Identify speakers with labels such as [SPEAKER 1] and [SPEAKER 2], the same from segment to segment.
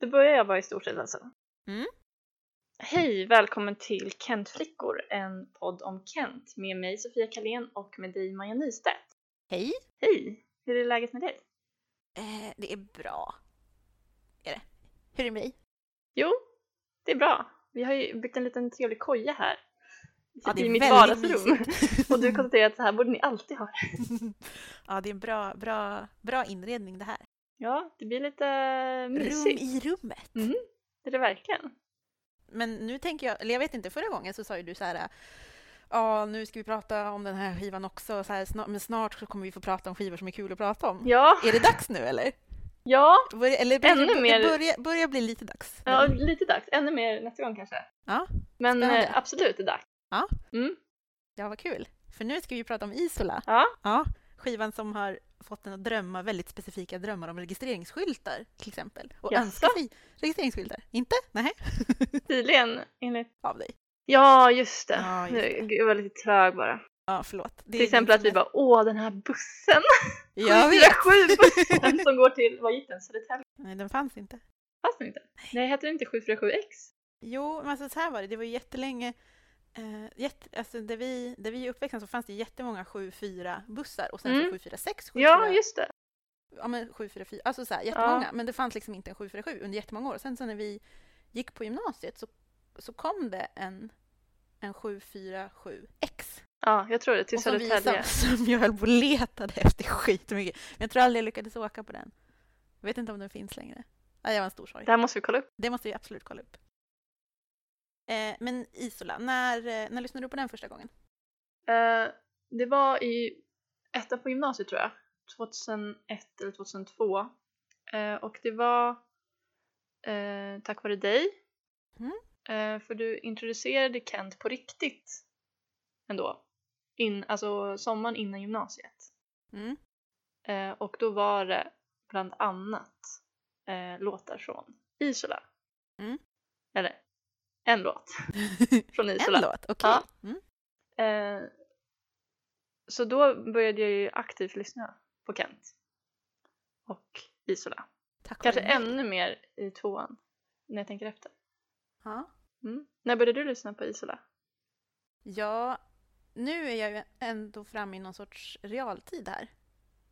[SPEAKER 1] Då börjar jag bara i stort sett alltså.
[SPEAKER 2] Mm.
[SPEAKER 1] Hej, välkommen till Kentflickor, en podd om Kent med mig Sofia Kalén och med dig Maja Nystedt.
[SPEAKER 2] Hej!
[SPEAKER 1] Hej! Hur är läget med dig?
[SPEAKER 2] Eh, det är bra. Är det. Hur är det med dig?
[SPEAKER 1] Jo, det är bra. Vi har ju byggt en liten trevlig koja här. Vi sitter
[SPEAKER 2] det är
[SPEAKER 1] i mitt
[SPEAKER 2] väldigt
[SPEAKER 1] vardagsrum. Och du konstaterar att så här borde ni alltid ha det.
[SPEAKER 2] ja, det är en bra, bra, bra inredning det här.
[SPEAKER 1] Ja, det blir lite eh,
[SPEAKER 2] Rum
[SPEAKER 1] mysigt.
[SPEAKER 2] i rummet.
[SPEAKER 1] Mm. Det är det verkligen.
[SPEAKER 2] Men nu tänker jag, eller jag vet inte, förra gången så sa ju du så här Ja, nu ska vi prata om den här skivan också, så här, snart, men snart så kommer vi få prata om skivor som är kul att prata om.
[SPEAKER 1] Ja,
[SPEAKER 2] Är det dags nu eller?
[SPEAKER 1] ja,
[SPEAKER 2] Börja, eller börjar-
[SPEAKER 1] Ännu
[SPEAKER 2] det
[SPEAKER 1] mer-
[SPEAKER 2] börjar, börjar bli lite dags.
[SPEAKER 1] ja lite dags. Ännu mer nästa gång kanske.
[SPEAKER 2] Ja,
[SPEAKER 1] Men
[SPEAKER 2] spännande.
[SPEAKER 1] eh, absolut, det är dags.
[SPEAKER 2] Ja.
[SPEAKER 1] Mm.
[SPEAKER 2] ja, vad kul. För nu ska vi prata om Isola.
[SPEAKER 1] Ja.
[SPEAKER 2] Ja, skivan som har fått en att drömma väldigt specifika drömmar om registreringsskyltar till exempel. Och
[SPEAKER 1] Jaså?
[SPEAKER 2] önska sig registreringsskyltar. Inte? Nej,
[SPEAKER 1] Tydligen, enligt...
[SPEAKER 2] av dig.
[SPEAKER 1] Ja, just det.
[SPEAKER 2] Ja, just
[SPEAKER 1] Nu-
[SPEAKER 2] det.
[SPEAKER 1] Gud, jag var lite trög bara.
[SPEAKER 2] Ja, förlåt. Det
[SPEAKER 1] Till
[SPEAKER 2] är
[SPEAKER 1] exempel att vi
[SPEAKER 2] liksom-
[SPEAKER 1] bara, åh den här bussen!
[SPEAKER 2] Jag vet!
[SPEAKER 1] bussen som går till, vad gick den? Södertälje?
[SPEAKER 2] Nej, den fanns inte.
[SPEAKER 1] Fanns den inte? Nej, heter den inte 747X?
[SPEAKER 2] Jo, men alltså så här var det. Det var ju jättelänge... Eh, jätte, alltså där, vi, där vi är uppväxta så fanns det jättemånga 7-4-bussar och sen
[SPEAKER 1] Mm.
[SPEAKER 2] så 746, 7
[SPEAKER 1] Ja, just det.
[SPEAKER 2] ja, men 744, alltså så här, jättemånga. Men det fanns liksom inte en 747 under jättemånga år. Och sen så när vi gick på gymnasiet så, så kom det en, en 747X.
[SPEAKER 1] Ja, jag tror det. Till
[SPEAKER 2] Och som, vi, som,
[SPEAKER 1] Södertälje.
[SPEAKER 2] som jag höll på och letade efter skitmycket. Men jag tror aldrig jag lyckades åka på den. Jag vet inte om den finns längre. Ja, det var en stor sorg.
[SPEAKER 1] Det här måste vi kolla upp.
[SPEAKER 2] Det måste vi absolut kolla upp. Eh, men Isola, när, eh, när lyssnade du på den första gången?
[SPEAKER 1] Eh, det var i ettan på gymnasiet tror jag. 2001 eller 2002. Eh, och det var eh, tack vare dig.
[SPEAKER 2] Mm.
[SPEAKER 1] Eh, för du introducerade Kent på riktigt ändå. In, alltså sommaren innan gymnasiet.
[SPEAKER 2] Mm.
[SPEAKER 1] Eh, och då var det bland annat eh, låtar från Isola.
[SPEAKER 2] Mm.
[SPEAKER 1] Eller en låt från Isola.
[SPEAKER 2] en låt, okej.
[SPEAKER 1] Ja.
[SPEAKER 2] Mm.
[SPEAKER 1] Eh, så då började jag ju aktivt lyssna på Kent och Isola.
[SPEAKER 2] Tack
[SPEAKER 1] Kanske
[SPEAKER 2] vare mig.
[SPEAKER 1] ännu mer i tvåan när jag tänker efter.
[SPEAKER 2] Ja.
[SPEAKER 1] Mm. När började du lyssna på Isola?
[SPEAKER 2] ja, nu är jag ju ändå framme i någon sorts realtid här.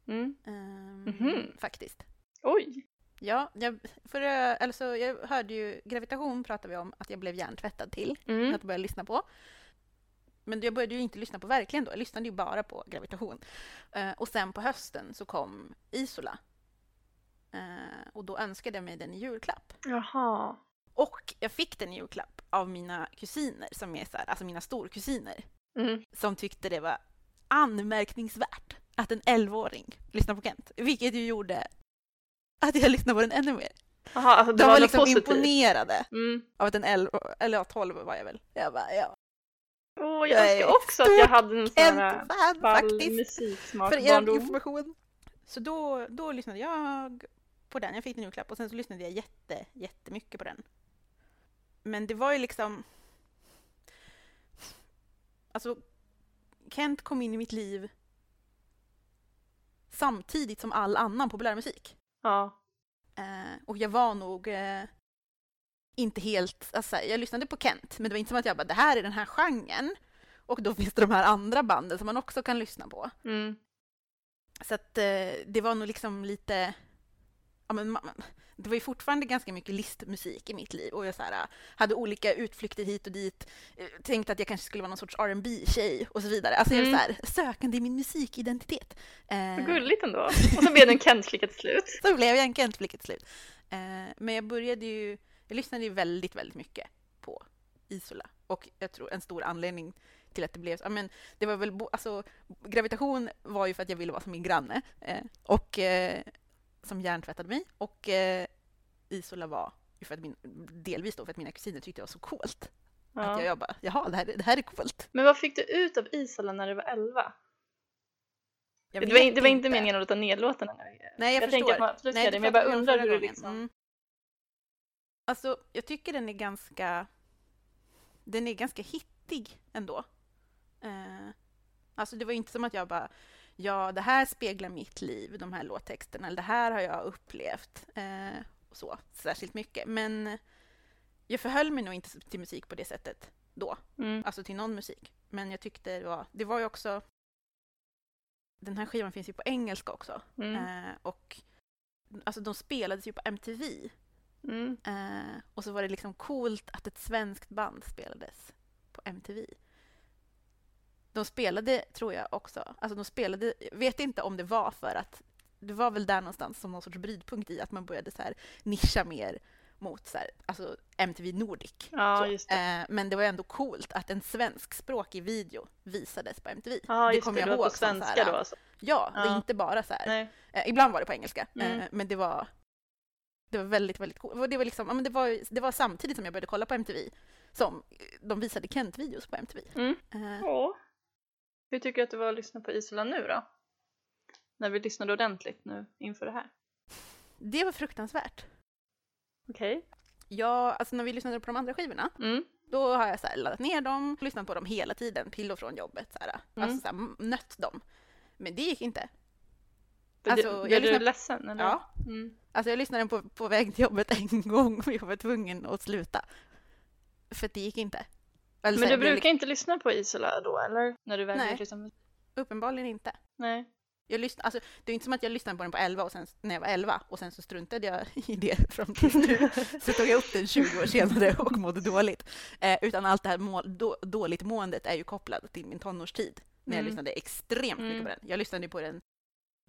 [SPEAKER 1] Mm.
[SPEAKER 2] Ehm,
[SPEAKER 1] Mhm.
[SPEAKER 2] Faktiskt.
[SPEAKER 1] Oj!
[SPEAKER 2] Ja, jag, för, eh, alltså, jag hörde ju, gravitation pratade vi om att jag blev hjärntvättad till.
[SPEAKER 1] Mm.
[SPEAKER 2] att börja lyssna på. Men jag började ju inte lyssna på verkligen då, jag lyssnade ju bara på gravitation. Eh, och sen på hösten så kom Isola. Eh, och då önskade jag mig den i julklapp.
[SPEAKER 1] Jaha.
[SPEAKER 2] Och jag fick den i julklapp av mina kusiner, som är så här, alltså mina storkusiner,
[SPEAKER 1] Mm.
[SPEAKER 2] som tyckte det var anmärkningsvärt att en 11-åring lyssnar på Kent. Vilket ju gjorde att jag lyssnade på den ännu mer.
[SPEAKER 1] Jaha, alltså det
[SPEAKER 2] De
[SPEAKER 1] var,
[SPEAKER 2] var
[SPEAKER 1] något
[SPEAKER 2] liksom
[SPEAKER 1] positivt.
[SPEAKER 2] imponerade
[SPEAKER 1] Mm.
[SPEAKER 2] av att en 11, eller ja, 12 var jag väl. Jag bara, ja,
[SPEAKER 1] Åh,
[SPEAKER 2] Jag
[SPEAKER 1] jag
[SPEAKER 2] är
[SPEAKER 1] önskar också att jag hade en sån här
[SPEAKER 2] Kent-fan
[SPEAKER 1] ball
[SPEAKER 2] faktiskt.
[SPEAKER 1] musiksmak
[SPEAKER 2] För
[SPEAKER 1] i
[SPEAKER 2] er
[SPEAKER 1] barndom.
[SPEAKER 2] information. Så då, då lyssnade jag på den. Jag fick den i julklapp och sen så lyssnade jag jätte, jättemycket på den. Men det var ju liksom... Alltså, Kent kom in i mitt liv samtidigt som all annan populärmusik.
[SPEAKER 1] Ja.
[SPEAKER 2] Eh, och jag var nog eh, inte helt... Alltså, jag lyssnade på Kent, men det var inte som att jag bara det här är den här genren och då finns det de här andra banden som man också kan lyssna på.
[SPEAKER 1] Mm.
[SPEAKER 2] Så att eh, det var nog liksom lite... Ja, men, ma- ma- det var ju fortfarande ganska mycket listmusik i mitt liv och jag så här, eh, hade olika utflykter hit och dit. eh, Tänkte att jag kanske skulle vara någon sorts rb tjej och så vidare. Alltså jag
[SPEAKER 1] Mm.
[SPEAKER 2] var så här, sökande i min musikidentitet.
[SPEAKER 1] Vad
[SPEAKER 2] Eh,
[SPEAKER 1] gulligt ändå. Och så blev det en Kent-klicka till slut.
[SPEAKER 2] så blev jag en Kent-flicka till slut. Eh, men jag började ju... Jag lyssnade ju väldigt, väldigt mycket på Isola. Och jag tror en stor anledning till att det blev så... ja, Men det var väl... bo- Alltså, gravitation var ju för att jag ville vara som min granne. Eh, och eh, som hjärntvättade mig. Och eh, Isola var ju för att min, delvis då för att mina kusiner tyckte det var så coolt. Att
[SPEAKER 1] Ja.
[SPEAKER 2] jag, jag bara, jaha, det här, är- det här är coolt.
[SPEAKER 1] Men vad fick du ut av Isola när du var 11?
[SPEAKER 2] Jag
[SPEAKER 1] Det
[SPEAKER 2] vet
[SPEAKER 1] var, in, det var inte meningen att låta nedlåtande nu.
[SPEAKER 2] Nej, jag,
[SPEAKER 1] tänker
[SPEAKER 2] förstår.
[SPEAKER 1] att man absolut
[SPEAKER 2] Nej,
[SPEAKER 1] ska
[SPEAKER 2] det
[SPEAKER 1] det, men jag bara
[SPEAKER 2] pratade vi om
[SPEAKER 1] undrar
[SPEAKER 2] förra
[SPEAKER 1] hur du
[SPEAKER 2] gången.
[SPEAKER 1] liksom...
[SPEAKER 2] Mm. Alltså, jag tycker den är ganska... Den är ganska hittig ändå. Eh, alltså, det var ju inte som att jag bara... Ja, det här speglar mitt liv, de här låttexterna. Eller det här har jag upplevt. Eh, så särskilt mycket. Men jag förhöll mig nog inte till musik på det sättet då,
[SPEAKER 1] Mm.
[SPEAKER 2] alltså till någon musik. Men jag tyckte det var, det var ju också, den här skivan finns ju på engelska också.
[SPEAKER 1] Mm.
[SPEAKER 2] Eh, och alltså de spelades ju på MTV.
[SPEAKER 1] Mm.
[SPEAKER 2] Eh, och så var det liksom coolt att ett svenskt band spelades på MTV. De spelade, tror jag också, alltså de spelade, jag vet inte om det var för att det var väl där någonstans som någon sorts brytpunkt i att man började så här nischa mer mot så här, alltså MTV Nordic.
[SPEAKER 1] Ja,
[SPEAKER 2] så.
[SPEAKER 1] just det.
[SPEAKER 2] Eh, men det var ju ändå coolt att en svenskspråkig video visades på MTV.
[SPEAKER 1] Ja, just det.
[SPEAKER 2] kommer
[SPEAKER 1] det var på
[SPEAKER 2] som så här,
[SPEAKER 1] svenska då alltså.
[SPEAKER 2] Ja, det är
[SPEAKER 1] Ja.
[SPEAKER 2] inte bara så här
[SPEAKER 1] Nej.
[SPEAKER 2] Eh, ibland var det på engelska, eh,
[SPEAKER 1] Mm.
[SPEAKER 2] men det var, det var väldigt, väldigt coolt. Och Det var, liksom, ja, men det, var, ju- det var samtidigt som jag började kolla på MTV som eh, de visade Kent-videos på MTV.
[SPEAKER 1] Mm.
[SPEAKER 2] Eh,
[SPEAKER 1] Ja. Hur tycker du att det var att lyssna på Isola nu då? När vi lyssnade ordentligt nu inför det här.
[SPEAKER 2] det var fruktansvärt.
[SPEAKER 1] Okej.
[SPEAKER 2] Jag, alltså när vi lyssnade på de andra skivorna,
[SPEAKER 1] Mm.
[SPEAKER 2] då har jag så här laddat ner dem, lyssnat på dem hela tiden, till och från jobbet. Så här, Alltså
[SPEAKER 1] Mm.
[SPEAKER 2] så här, m- nött dem. Men det gick inte.
[SPEAKER 1] Blev
[SPEAKER 2] Alltså,
[SPEAKER 1] du,
[SPEAKER 2] jag
[SPEAKER 1] blev du
[SPEAKER 2] lyssnar-
[SPEAKER 1] ledsen eller?
[SPEAKER 2] Ja.
[SPEAKER 1] Mm.
[SPEAKER 2] Alltså jag lyssnade på, på väg till jobbet en gång och jag var tvungen att sluta. För att det gick inte. Eller så
[SPEAKER 1] Men
[SPEAKER 2] här,
[SPEAKER 1] du
[SPEAKER 2] jag blev
[SPEAKER 1] brukar inte lyssna på Isola då eller? När du väl
[SPEAKER 2] Nej.
[SPEAKER 1] gör liksom...
[SPEAKER 2] liksom- Uppenbarligen inte.
[SPEAKER 1] Nej.
[SPEAKER 2] Jag lyssn- alltså, det är inte som att jag lyssnade på den på 11 och sen, när jag var 11 och sen så struntade jag i det fram tills nu. Så tog jag upp den 20 år senare och mådde dåligt. Eh, utan allt det här må- då- dåligt måendet är ju kopplat till min tonårstid. När jag
[SPEAKER 1] Mm.
[SPEAKER 2] lyssnade extremt mycket
[SPEAKER 1] Mm.
[SPEAKER 2] på den. Jag lyssnade ju på den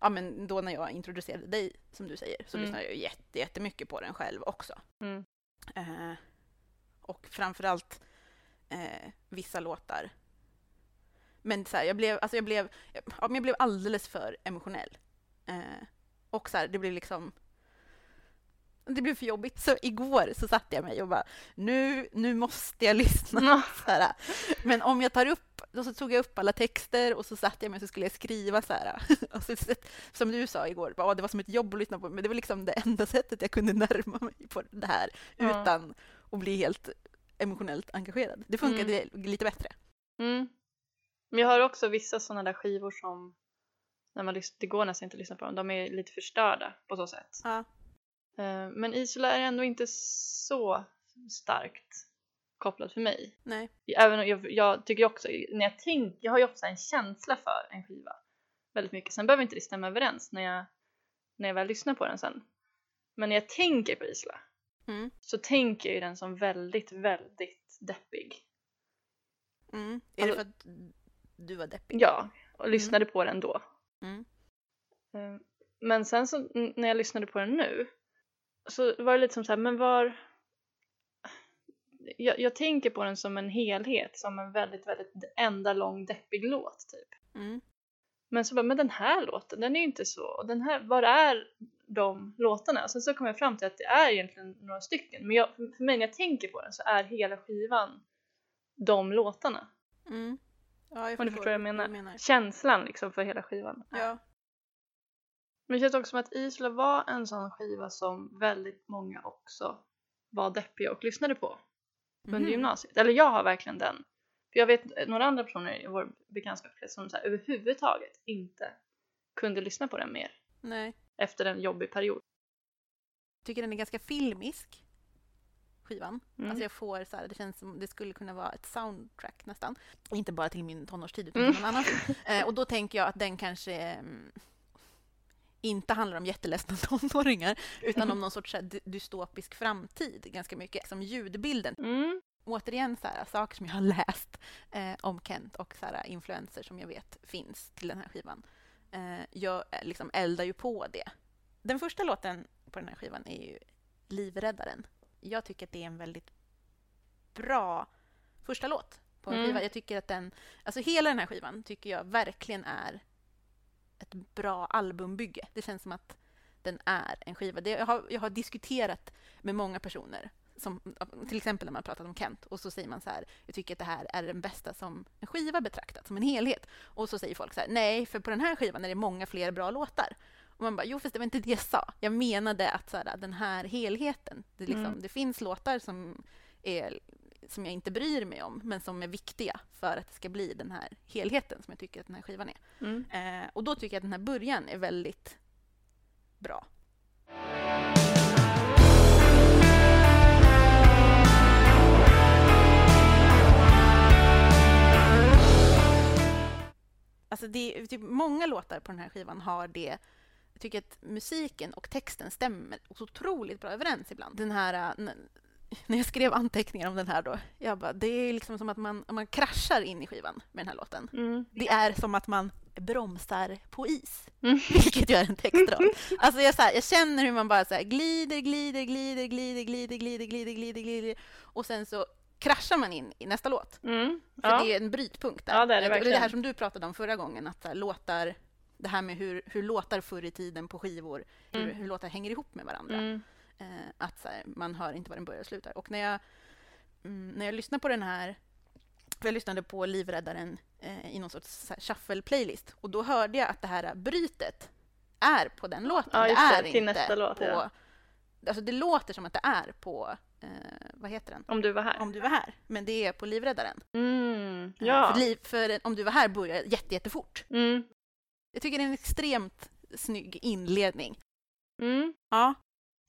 [SPEAKER 2] ja, men då när jag introducerade dig, som du säger, så
[SPEAKER 1] Mm.
[SPEAKER 2] lyssnade jag ju jätte, jättemycket på den själv också.
[SPEAKER 1] Mm.
[SPEAKER 2] Eh, och framförallt eh, vissa låtar. Men så här, jag, blev, alltså jag, blev, ja, men jag blev alldeles för emotionell. Eh, och så här, det blev liksom... Det blev för jobbigt, så igår så satte jag mig och bara nu, nu måste jag lyssna.
[SPEAKER 1] Nå,
[SPEAKER 2] Så här. Men om jag tar upp, då så tog jag upp alla texter och så satte jag mig och så skulle jag skriva så här. Och Alltså, så, så- som du sa igår, bara, "Åh, det var som ett jobb att lyssna på, men det var liksom det enda sättet jag kunde närma mig på det här
[SPEAKER 1] Ja.
[SPEAKER 2] utan att bli helt emotionellt engagerad. Det funkade lite bättre.
[SPEAKER 1] Mm. Men jag har också vissa sådana där skivor som när man lyssnar, det går nästan inte att lyssna på dem, de är lite förstörda på så sätt.
[SPEAKER 2] Ja.
[SPEAKER 1] Eh, Men Isola är ändå inte så starkt kopplad för mig.
[SPEAKER 2] Nej.
[SPEAKER 1] Även om jag, jag tycker ju också, när jag tänker, jag har ju ofta en känsla för en skiva väldigt mycket. Sen behöver inte det stämma överens när jag, när jag väl lyssnar på den sen. Men när jag tänker på Isola
[SPEAKER 2] Mm.
[SPEAKER 1] så tänker jag ju den som väldigt, väldigt deppig.
[SPEAKER 2] Mm. Är det för
[SPEAKER 1] Alltså-
[SPEAKER 2] att du var deppig?
[SPEAKER 1] Ja, och lyssnade på den då.
[SPEAKER 2] Mm.
[SPEAKER 1] Eh, Men sen så n- när jag lyssnade på den nu så var det lite som så här, men var... Jag, jag tänker på den som en helhet, som en väldigt, väldigt enda lång deppig låt typ.
[SPEAKER 2] Mm.
[SPEAKER 1] Men så bara, men den här låten, den är ju inte så, och den här, var är de låtarna? Sen så kom jag fram till att det är egentligen några stycken, men jag, för mig när jag tänker på den så är hela skivan de låtarna.
[SPEAKER 2] Mm. Ja, jag
[SPEAKER 1] Om du förstår vad jag menar.
[SPEAKER 2] Mm.
[SPEAKER 1] Känslan liksom för hela skivan.
[SPEAKER 2] Ja.
[SPEAKER 1] Men det känns också som att Isola var en sån skiva som väldigt många också var deppiga och lyssnade på under
[SPEAKER 2] Mhm.
[SPEAKER 1] gymnasiet. Eller jag har verkligen den. För jag vet eh, några andra personer i vår bekantskapskrets som så här, överhuvudtaget inte kunde lyssna på den mer
[SPEAKER 2] Nej.
[SPEAKER 1] efter en jobbig period.
[SPEAKER 2] Tycker den är ganska filmisk, skivan.
[SPEAKER 1] Mm.
[SPEAKER 2] Alltså jag får så här, det känns som det skulle kunna vara ett soundtrack nästan. Inte bara till min tonårstid utan
[SPEAKER 1] Mm.
[SPEAKER 2] till någon annan film. Eh, och då tänker jag att den kanske mm, inte handlar om jätteledsna tonåringar utan
[SPEAKER 1] Mm.
[SPEAKER 2] om någon sorts så här, dy- dystopisk framtid ganska mycket. Som ljudbilden.
[SPEAKER 1] Mm.
[SPEAKER 2] Återigen så här, saker som jag har läst eh, om Kent och så här, influenser som jag vet finns till den här skivan. Eh, jag eh, liksom eldar ju på det. Den första låten på den här skivan är ju Livräddaren. Jag tycker att det är en väldigt bra första låt på en
[SPEAKER 1] Mm.
[SPEAKER 2] skiva. Jag tycker att den, alltså hela den här skivan tycker jag verkligen är ett bra albumbygge. Det känns som att den är en skiva. Det, jag, har, jag har diskuterat med många personer, som, till exempel när man pratat om Kent, och så säger man så här, jag tycker att det här är den bästa som en skiva betraktat, som en helhet. Och så säger folk så här, nej, för på den här skivan är det många fler bra låtar. Och man bara, jo fast det var inte det jag sa. Jag menade att så här, den här helheten, det, liksom,
[SPEAKER 1] Mm.
[SPEAKER 2] det finns låtar som, är, som jag inte bryr mig om, men som är viktiga för att det ska bli den här helheten som jag tycker att den här skivan är.
[SPEAKER 1] Mm.
[SPEAKER 2] Eh, och då tycker jag att den här början är väldigt bra. Alltså det, är- typ många låtar på den här skivan har det. Jag tycker att musiken och texten stämmer så otroligt bra överens ibland. Den här, äh, n- när jag skrev anteckningar om den här då, jag bara, det är liksom som att man, man kraschar in i skivan med den här låten.
[SPEAKER 1] Mm.
[SPEAKER 2] Det är som att man bromsar på is,
[SPEAKER 1] Mm.
[SPEAKER 2] vilket ju är en textrad. Alltså jag, så här, jag känner hur man bara så här, glider, glider, glider, glider, glider, glider, glider, glider, glider och sen så kraschar man in i nästa låt.
[SPEAKER 1] Mm.
[SPEAKER 2] För
[SPEAKER 1] Ja.
[SPEAKER 2] det är en brytpunkt där.
[SPEAKER 1] Ja, det är det
[SPEAKER 2] och det är det
[SPEAKER 1] verkligen.
[SPEAKER 2] här som du pratade om förra gången, att så här, låtar, det här med hur, hur låtar förr i tiden på skivor, hur,
[SPEAKER 1] Mm.
[SPEAKER 2] hur låtar hänger ihop med varandra.
[SPEAKER 1] Mm.
[SPEAKER 2] Eh, att så här, man hör inte var den börjar och slutar. Och när jag, mm, när jag lyssnar på den här, för jag lyssnade på Livräddaren eh, i någon sorts så här shuffle-playlist, och då hörde jag att det här brytet är på den låten.
[SPEAKER 1] Ja,
[SPEAKER 2] det
[SPEAKER 1] just det,
[SPEAKER 2] är
[SPEAKER 1] till
[SPEAKER 2] inte
[SPEAKER 1] nästa låt,
[SPEAKER 2] på...
[SPEAKER 1] ja.
[SPEAKER 2] Alltså det låter som att det är på, eh, vad heter den?
[SPEAKER 1] Om du var här.
[SPEAKER 2] Om du var här, men det är på Livräddaren. Eh,
[SPEAKER 1] Mm.
[SPEAKER 2] För,
[SPEAKER 1] Ja.
[SPEAKER 2] liv, för om du var här börjar jätte, jättefort.
[SPEAKER 1] Mm.
[SPEAKER 2] Jag tycker det är en extremt snygg inledning.
[SPEAKER 1] Mm.
[SPEAKER 2] Ja.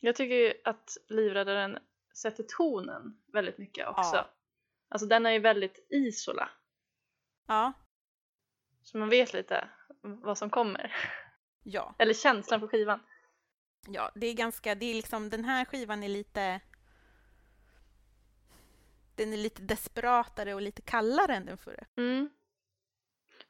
[SPEAKER 1] Jag tycker ju att Livräddaren sätter tonen väldigt mycket också.
[SPEAKER 2] Ja.
[SPEAKER 1] Alltså den är ju väldigt isola.
[SPEAKER 2] Ja.
[SPEAKER 1] Så man vet lite vad som kommer.
[SPEAKER 2] Ja.
[SPEAKER 1] Eller känslan på skivan.
[SPEAKER 2] Ja, det är ganska, det är liksom, den här skivan är lite den är lite desperatare och lite kallare än den förra.
[SPEAKER 1] Mm.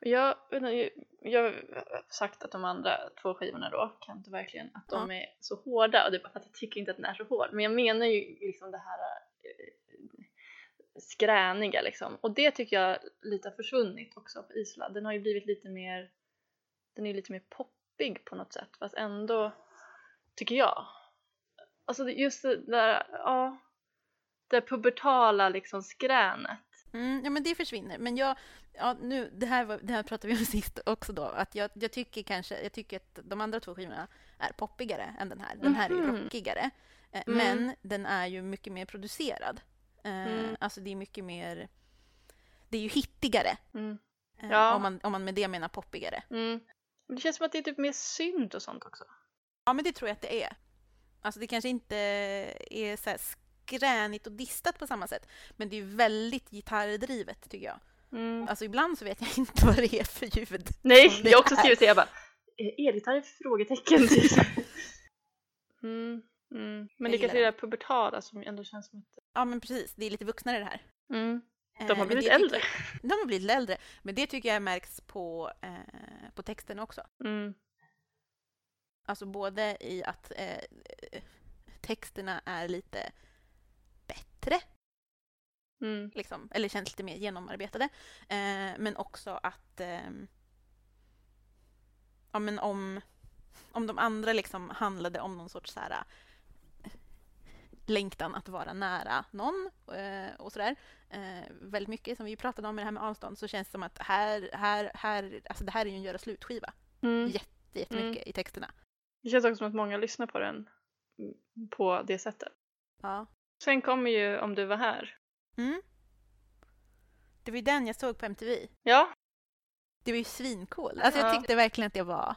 [SPEAKER 1] Och Jag, vet inte, jag har sagt att de andra två skivorna då, kan inte verkligen, att de är så hårda och det är bara för att jag tycker inte att den är så hård. Men jag menar ju liksom det här eh, skräniga liksom. Och det tycker jag lite har försvunnit också på Isla. Den har ju blivit lite mer, den är ju lite mer poppig på något sätt fast ändå, tycker jag. Alltså det- just det där, ja, det pubertala liksom skränet.
[SPEAKER 2] Mm, ja, men det försvinner. Men jag, ja, nu, det här, var, det här pratade vi om sist också då, att jag, jag tycker kanske, jag tycker att de andra två skivorna är poppigare än den här. Den här är ju
[SPEAKER 1] Mhm.
[SPEAKER 2] rockigare, eh,
[SPEAKER 1] Mm.
[SPEAKER 2] men den är ju mycket mer producerad. Eh,
[SPEAKER 1] Mm.
[SPEAKER 2] Alltså det är mycket mer, det är ju hittigare,
[SPEAKER 1] Mm.
[SPEAKER 2] eh,
[SPEAKER 1] Ja.
[SPEAKER 2] om, man, om man med det menar poppigare.
[SPEAKER 1] Mm. Men det känns som att det är typ mer synt och sånt också.
[SPEAKER 2] Ja, men det tror jag att det är. Alltså det kanske inte är så här skränigt och distat på samma sätt, men det är ju väldigt gitarrdrivet tycker jag.
[SPEAKER 1] Mm.
[SPEAKER 2] Alltså ibland så vet jag inte vad det är för ljud.
[SPEAKER 1] Nej,
[SPEAKER 2] Som det
[SPEAKER 1] jag har också
[SPEAKER 2] är.
[SPEAKER 1] skrivit det. Jag bara, "Eh, elgitarr? Frågetecken. typ. mm. Mm. Men det
[SPEAKER 2] gillar
[SPEAKER 1] kanske är det där pubertala som ändå känns som att...
[SPEAKER 2] Ja, men precis. Det är lite vuxnare det här.
[SPEAKER 1] Mm.
[SPEAKER 2] Eh,
[SPEAKER 1] De har
[SPEAKER 2] men
[SPEAKER 1] blivit
[SPEAKER 2] det tycker-
[SPEAKER 1] äldre.
[SPEAKER 2] De har blivit lite äldre, men det tycker jag märks på, eh, på texten också.
[SPEAKER 1] Mm.
[SPEAKER 2] Alltså både i att eh, texterna är lite bättre
[SPEAKER 1] Mm.
[SPEAKER 2] liksom, eller känns lite mer genomarbetade. Eh, men också att ehm, ja, men om, om de andra liksom handlade om någon sorts så här, eh, längtan att vara nära någon eh, och sådär. Eh, väldigt mycket som vi pratade om i det här med avstånd så känns det som att här, här, här, alltså det här är ju en göra slut-skiva.
[SPEAKER 1] Mm.
[SPEAKER 2] Jätte, jättemycket i texterna.
[SPEAKER 1] Det känns också som att många lyssnar på den mm, på det sättet.
[SPEAKER 2] Ja.
[SPEAKER 1] Sen kommer ju Om du var här.
[SPEAKER 2] Mm. Det var ju den jag såg på MTV.
[SPEAKER 1] Ja,
[SPEAKER 2] Det var ju svincool. Alltså jag
[SPEAKER 1] Ja.
[SPEAKER 2] tyckte verkligen att det var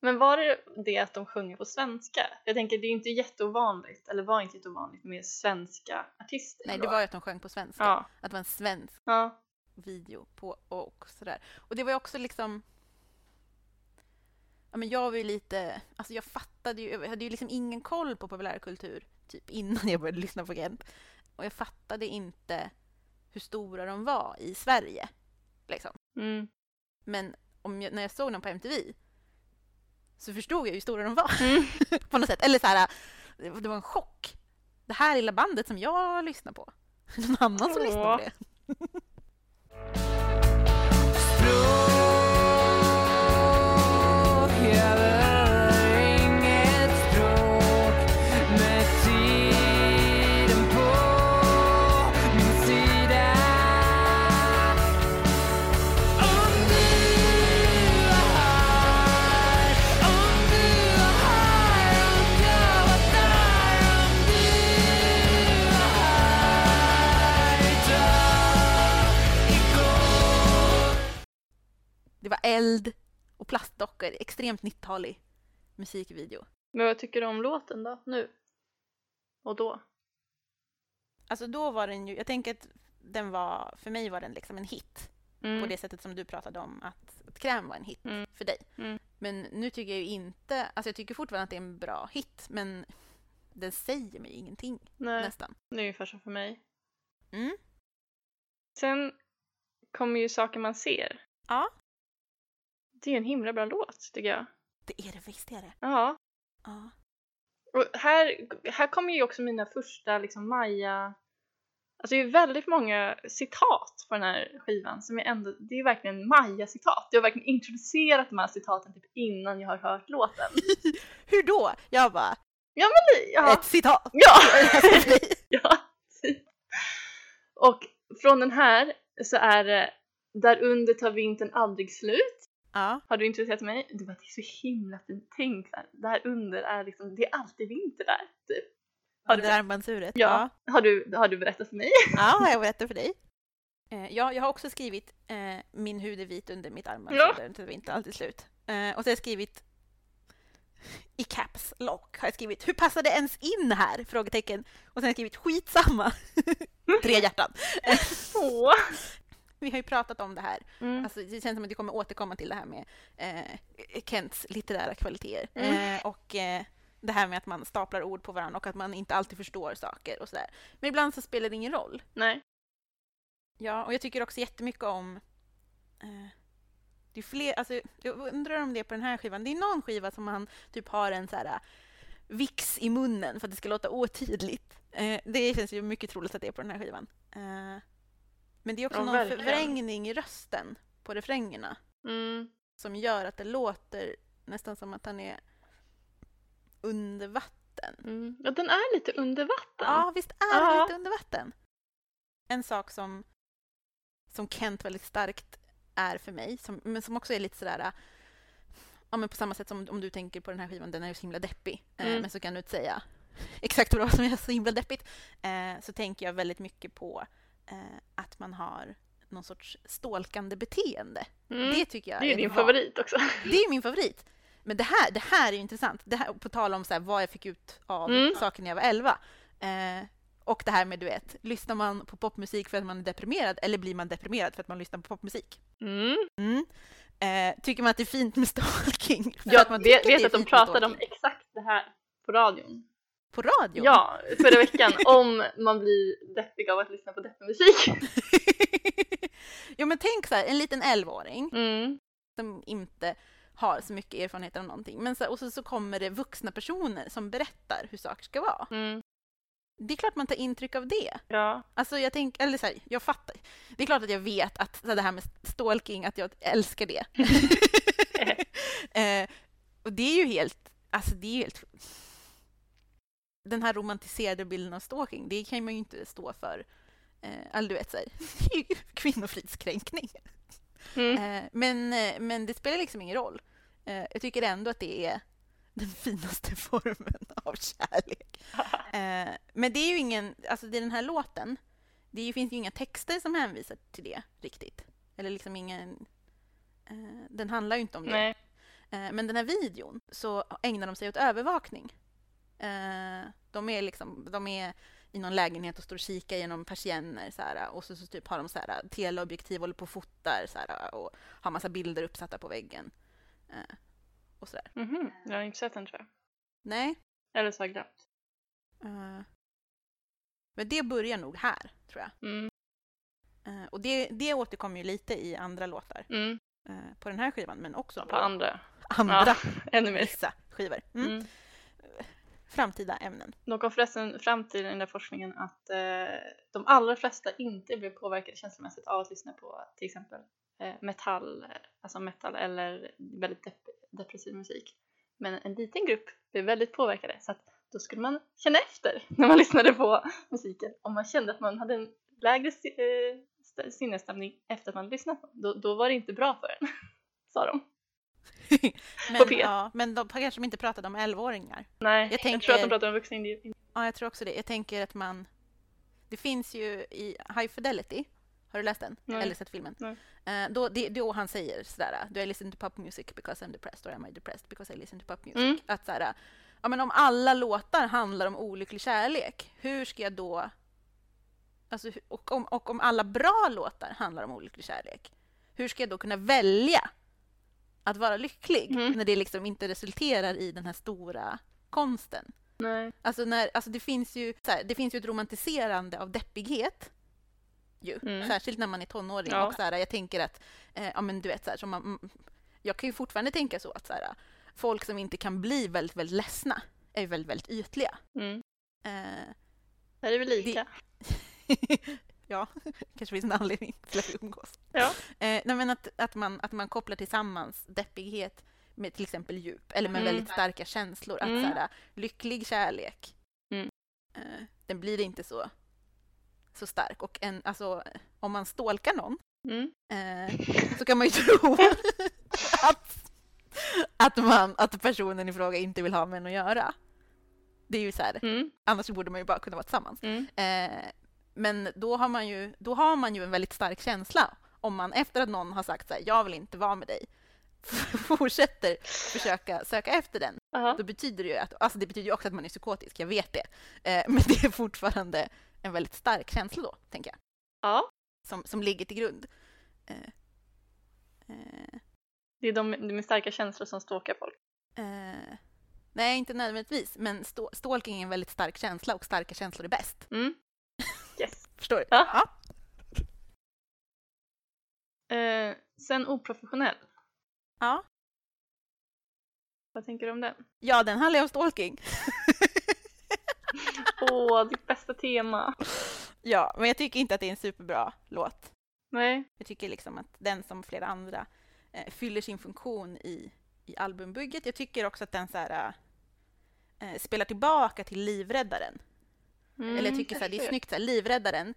[SPEAKER 1] men var det det att de sjunger på svenska? Jag tänker det är ju inte jätteovanligt, eller var inte jätteovanligt med svenska artister.
[SPEAKER 2] Nej,
[SPEAKER 1] då.
[SPEAKER 2] det var ju att de sjöng på svenska.
[SPEAKER 1] Ja,
[SPEAKER 2] Att det var en svensk
[SPEAKER 1] ja.
[SPEAKER 2] video på och sådär. Och det var ju också liksom... Ja, men jag var ju lite... Alltså jag fattade ju... Jag hade ju liksom ingen koll på populärkultur typ innan jag började lyssna på Gent. Och jag fattade inte hur stora de var i Sverige. Liksom.
[SPEAKER 1] Mm.
[SPEAKER 2] Men om jag, när jag såg dem på MTV så förstod jag ju hur stora de var
[SPEAKER 3] Mm.
[SPEAKER 2] på något sätt. Eller så här, det var en chock. Det här lilla bandet som jag lyssnar på. Någon annan som
[SPEAKER 1] Åh.
[SPEAKER 2] lyssnar på det.
[SPEAKER 3] Språk över inget språk med tiden på min sida. Om du var här, om du var här, om jag var där, om du var här idag, igår.
[SPEAKER 2] Det var eld och plastdockor. Extremt 90-talig musikvideo.
[SPEAKER 1] Men vad tycker du om låten då, nu? Och då?
[SPEAKER 2] Alltså då var den ju, jag tänker att den var, för mig var den liksom en hit.
[SPEAKER 1] Mm.
[SPEAKER 2] på det sättet som du pratade om att, att kräm var en hit
[SPEAKER 1] Mm.
[SPEAKER 2] för dig.
[SPEAKER 1] Mm.
[SPEAKER 2] Men nu tycker jag ju inte, alltså jag tycker fortfarande att det är en bra hit men den säger mig ingenting
[SPEAKER 1] Nej,
[SPEAKER 2] nästan.
[SPEAKER 1] det är ungefär som för mig.
[SPEAKER 2] Mm.
[SPEAKER 1] Sen kommer ju Saker man ser.
[SPEAKER 2] Ja.
[SPEAKER 1] Det är ju en himla bra låt tycker jag.
[SPEAKER 2] Det är det visst är det.
[SPEAKER 1] Ja.
[SPEAKER 2] Ja.
[SPEAKER 1] Och här, här kommer ju också mina första liksom Maja... Alltså det är väldigt många citat på den här skivan som är ändå, det är verkligen Maja-citat. Jag har verkligen introducerat de här citaten typ innan jag har hört låten.
[SPEAKER 2] Hur då? Jag bara,
[SPEAKER 1] Ja!
[SPEAKER 2] ett Alltså, citat!
[SPEAKER 1] ja. ja. typ. Och från den här så är det Där under tar vintern aldrig slut.
[SPEAKER 2] ja.
[SPEAKER 1] Har du introducerat mig? Du bara, det är så himla fint. Tänk där, där under är liksom, det är alltid vinter där. Typ. Har
[SPEAKER 2] Har
[SPEAKER 1] du
[SPEAKER 2] det där armbandsuret?
[SPEAKER 1] Ja. Har du, har du berättat för mig?
[SPEAKER 2] Ja, har jag berättat för dig? Eh, ja, jag har också skrivit eh, min hud är vit under mitt armband
[SPEAKER 1] Ja.
[SPEAKER 2] så den tar inte alltid slut. Eh, och så har jag skrivit i caps lock har jag skrivit hur passar det ens in här? Frågetecken. Och sen har jag skrivit skitsamma. Tre hjärtan. Eh,
[SPEAKER 1] Åh!
[SPEAKER 2] Vi har ju pratat om det här.
[SPEAKER 1] Mm.
[SPEAKER 2] Alltså, det känns som att vi kommer återkomma till det här med eh, Kents litterära kvaliteter.
[SPEAKER 1] Mm.
[SPEAKER 2] Eh, och eh, det här med att man staplar ord på varandra och att man inte alltid förstår saker och sådär. Men ibland så spelar det ingen roll.
[SPEAKER 1] Nej.
[SPEAKER 2] Ja, och jag tycker också jättemycket om... Eh, det är fler, alltså, jag undrar om det är på den här skivan. Det är någon skiva som han typ har en så här vix i munnen för att det ska låta otydligt. Eh, det känns ju mycket troligt att det är på den här skivan. Eh, men det är också
[SPEAKER 1] Ja,
[SPEAKER 2] någon
[SPEAKER 1] verkligen.
[SPEAKER 2] förvrängning i rösten på refrängerna
[SPEAKER 1] Mm.
[SPEAKER 2] som gör att det låter nästan som att han är under vatten.
[SPEAKER 1] Mm. Ja, den är lite under vatten.
[SPEAKER 2] Ja, visst är det
[SPEAKER 1] Ja.
[SPEAKER 2] lite under vatten. En sak som, som Kent väldigt starkt är för mig, som, men som också är lite sådär... äh, Ja, men på samma sätt som om du tänker på den här skivan, den är ju så himla deppig, eh,
[SPEAKER 1] Mm.
[SPEAKER 2] men så kan du inte säga exakt vad det var som är så himla deppigt. Eh, så tänker jag väldigt mycket på eh, att man har någon sorts stalkande beteende.
[SPEAKER 1] Mm.
[SPEAKER 2] Det tycker jag
[SPEAKER 1] Det är ju
[SPEAKER 2] ett
[SPEAKER 1] din
[SPEAKER 2] val.
[SPEAKER 1] favorit också.
[SPEAKER 2] Det är min favorit. Men det här, det här är ju intressant. Det här, på tal om så här, vad jag fick ut av
[SPEAKER 1] Mm.
[SPEAKER 2] saker när jag var 11. Eh, och det här med, du vet, lyssnar man på popmusik för att man är deprimerad eller blir man deprimerad för att man lyssnar på popmusik?
[SPEAKER 1] Mm.
[SPEAKER 2] Mm. Eh, tycker man att det är fint med stalking? För att
[SPEAKER 1] Jag
[SPEAKER 2] man
[SPEAKER 1] vet,
[SPEAKER 2] tycker
[SPEAKER 1] vet
[SPEAKER 2] är
[SPEAKER 1] att de
[SPEAKER 2] fint med
[SPEAKER 1] pratade om
[SPEAKER 2] stalking?
[SPEAKER 1] exakt det här på radion.
[SPEAKER 2] På radio?
[SPEAKER 1] Ja, förra veckan. om man blir deppig av att lyssna på deppig musik.
[SPEAKER 2] jo men tänk så här, en liten 11-åring
[SPEAKER 1] Mm.
[SPEAKER 2] som inte har så mycket erfarenhet av någonting. Men så, och så, så kommer det vuxna personer som berättar hur saker ska vara.
[SPEAKER 1] Mm.
[SPEAKER 2] Det är klart man tar intryck av det.
[SPEAKER 1] Ja.
[SPEAKER 2] Alltså jag tänker, eller så här, jag fattar. Det är klart att jag vet att så här, det här med stalking, att jag älskar det. eh, och det är ju helt, alltså det är ju helt... Den här romantiserade bilden av stalking, det kan man ju inte stå för. Eh, all du vet, så här, det är ju kvinnofridskränkning.
[SPEAKER 1] Mm.
[SPEAKER 2] Eh, men, eh, men det spelar liksom ingen roll. Eh, jag tycker ändå att det är den finaste formen av kärlek. Eh, men det är ju ingen, alltså det är den här låten, det är ju, finns ju inga texter som hänvisar till det riktigt. Eller liksom ingen, eh, den handlar ju inte om det.
[SPEAKER 1] Nej.
[SPEAKER 2] Eh, Men den här videon så ägnar de sig åt övervakning. Eh, De är, liksom, de är i någon lägenhet och står och kikar genom persienner så här, och så, så typ har de så här, teleobjektiv och håller på och fotar så här, och har massa bilder uppsatta på väggen. Eh, Och så där.
[SPEAKER 1] Mhm. Jag har inte sett den tror
[SPEAKER 2] Nej.
[SPEAKER 1] jag. Eller så har jag glömt.
[SPEAKER 2] eh, Men det börjar nog här, tror jag.
[SPEAKER 1] Mm.
[SPEAKER 2] Eh, Och det, det återkommer ju lite i andra låtar
[SPEAKER 1] Mm.
[SPEAKER 2] eh, på den här skivan, men också
[SPEAKER 1] På andra.
[SPEAKER 2] andra
[SPEAKER 1] Ännu mer.
[SPEAKER 2] vissa skivor. Mm.
[SPEAKER 1] Mm.
[SPEAKER 2] Framtida ämnen.
[SPEAKER 1] De kom förresten fram till i den där forskningen att eh, de allra flesta inte blev påverkade känslomässigt av att lyssna på till exempel eh, metall, eh, alltså metal eller väldigt dep- depressiv musik. Men en liten grupp blev väldigt påverkade så att då skulle man känna efter när man lyssnade på musiken om man kände att man hade en lägre si- eh, st- sinnesstämning efter att man lyssnat på den. Då, då var det inte bra för en, sa de.
[SPEAKER 2] Men,
[SPEAKER 1] P1.
[SPEAKER 2] ja, men de kanske de inte pratade om 11-åringar.
[SPEAKER 1] Nej, jag,
[SPEAKER 2] Jag tänker-
[SPEAKER 1] tror att de pratar om vuxna individer.
[SPEAKER 2] Ja, jag tror också det. Jag tänker att man... Det finns ju i High Fidelity, har du läst den?
[SPEAKER 1] Nej.
[SPEAKER 2] Eller sett filmen?
[SPEAKER 1] Nej.
[SPEAKER 2] Eh, då, det, då han säger sådär, do I listen to pop music because I'm depressed or am I depressed because I listen to pop music?
[SPEAKER 1] Mm.
[SPEAKER 2] Att såhär, ja men om alla låtar handlar om olycklig kärlek, hur ska jag då... Alltså, hu- och, om, och om alla bra låtar handlar om olycklig kärlek, hur ska jag då kunna välja att vara lycklig
[SPEAKER 1] Mm.
[SPEAKER 2] när det liksom inte resulterar i den här stora konsten?
[SPEAKER 1] Nej.
[SPEAKER 2] Alltså, när, alltså det, finns ju, så här, det finns ju ett romantiserande av deppighet. Ju.
[SPEAKER 1] Mm.
[SPEAKER 2] Särskilt när man är tonåring.
[SPEAKER 1] Ja.
[SPEAKER 2] Och så här, jag tänker att, eh, ja men du vet, så här, som man, mm, jag kan ju fortfarande tänka så att så här, folk som inte kan bli väldigt, väldigt ledsna är ju väldigt, väldigt ytliga.
[SPEAKER 1] Mm.
[SPEAKER 2] Eh,
[SPEAKER 1] Där är vi lika.
[SPEAKER 2] ja, kanske finns en anledning till att vi umgås.
[SPEAKER 1] Ja.
[SPEAKER 2] Eh, nej, men att, att, man, att man kopplar tillsammans deppighet med till exempel djup eller med
[SPEAKER 1] Mm.
[SPEAKER 2] väldigt starka känslor. Att
[SPEAKER 1] Mm.
[SPEAKER 2] såhär, lycklig kärlek,
[SPEAKER 1] Mm.
[SPEAKER 2] eh, den blir inte så, så stark. Och en, alltså, om man stalkar någon
[SPEAKER 1] Mm.
[SPEAKER 2] eh, så kan man ju tro att, att, man, att personen i fråga inte vill ha med en att göra. Det är ju så här,
[SPEAKER 1] Mm.
[SPEAKER 2] annars borde man ju bara kunna vara tillsammans.
[SPEAKER 1] Mm.
[SPEAKER 2] Eh, men då har, man ju, då har man ju en väldigt stark känsla om man efter att någon har sagt så här, jag vill inte vara med dig, fortsätter försöka söka efter den.
[SPEAKER 1] Aha.
[SPEAKER 2] Då betyder det ju att, alltså det betyder ju också att man är psykotisk, jag vet det. Eh, men det är fortfarande en väldigt stark känsla då, tänker jag,
[SPEAKER 1] Ja,
[SPEAKER 2] som, som ligger till grund. Eh, eh,
[SPEAKER 1] det är de med- med starka känslor som stalkar folk.
[SPEAKER 2] eh, nej, inte nödvändigtvis, men sto- stalking är en väldigt stark känsla och starka känslor är bäst.
[SPEAKER 1] Mm. Yes.
[SPEAKER 2] Förstår du?
[SPEAKER 1] Ja. Eh, sen oprofessionell.
[SPEAKER 2] Ja.
[SPEAKER 1] Vad tänker du om den?
[SPEAKER 2] ja, den handlar ju om stalking.
[SPEAKER 1] Åh, ditt bästa tema.
[SPEAKER 2] Ja, men jag tycker inte att det är en superbra låt.
[SPEAKER 1] Nej.
[SPEAKER 2] Jag tycker liksom att den som flera andra eh, fyller sin funktion i, i albumbygget. Jag tycker också att den så här, eh, spelar tillbaka till Livräddaren.
[SPEAKER 1] Mm.
[SPEAKER 2] Eller jag tycker så här, det är
[SPEAKER 1] Kanske.
[SPEAKER 2] snyggt, så här, Livräddaren,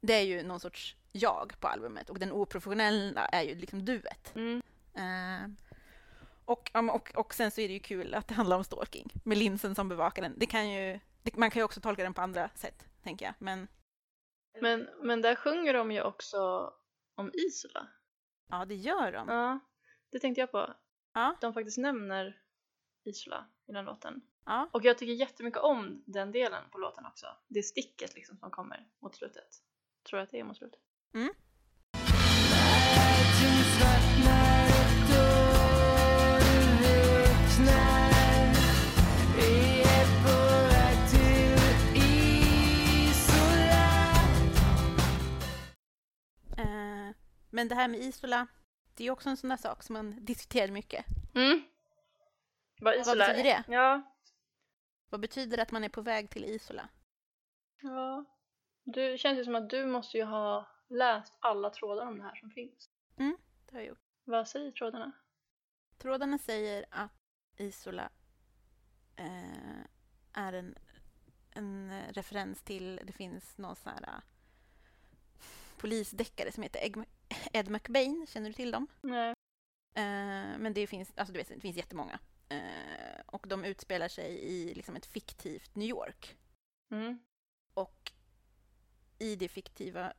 [SPEAKER 2] det är ju någon sorts jag på albumet och den oprofessionella är ju liksom duet.
[SPEAKER 1] Mm.
[SPEAKER 2] Eh, och, ja, men- och, och sen så är det ju kul att det handlar om stalking med linsen som bevakar den. Det kan ju, det, man kan ju också tolka den på andra sätt, tänker jag. Men
[SPEAKER 1] Men, men där sjunger de ju också om Isola.
[SPEAKER 2] ja, det gör de.
[SPEAKER 1] Ja, det tänkte jag på.
[SPEAKER 2] Ja.
[SPEAKER 1] De faktiskt nämner Isola i den låten.
[SPEAKER 2] Ja.
[SPEAKER 1] Och jag tycker jättemycket om den delen på låten också. Det sticket liksom som kommer mot slutet. Tror jag att det är mot slutet.
[SPEAKER 2] Eh, men det här med Isola, det är också en sån där sak som man diskuterar mycket.
[SPEAKER 1] Mm. Vad Isola
[SPEAKER 2] betyder
[SPEAKER 1] är.
[SPEAKER 2] det?
[SPEAKER 1] Ja.
[SPEAKER 2] Vad betyder det att man är på väg till Isola?
[SPEAKER 1] ja. Du, det känns ju som att du måste ju ha läst alla trådar om det här som finns.
[SPEAKER 2] Det har jag gjort.
[SPEAKER 1] Vad säger trådarna?
[SPEAKER 2] Trådarna säger att Isola eh, är en, en eh, referens till, det finns någon sån här eh, polisdeckare som heter Egg- Ed McBain, känner du till dem?
[SPEAKER 1] Nej.
[SPEAKER 2] Eh, men det finns, alltså du vet, det finns jättemånga. Eh, och de utspelar sig i liksom ett fiktivt New York.
[SPEAKER 1] Mm.
[SPEAKER 2] Och i det fiktiva...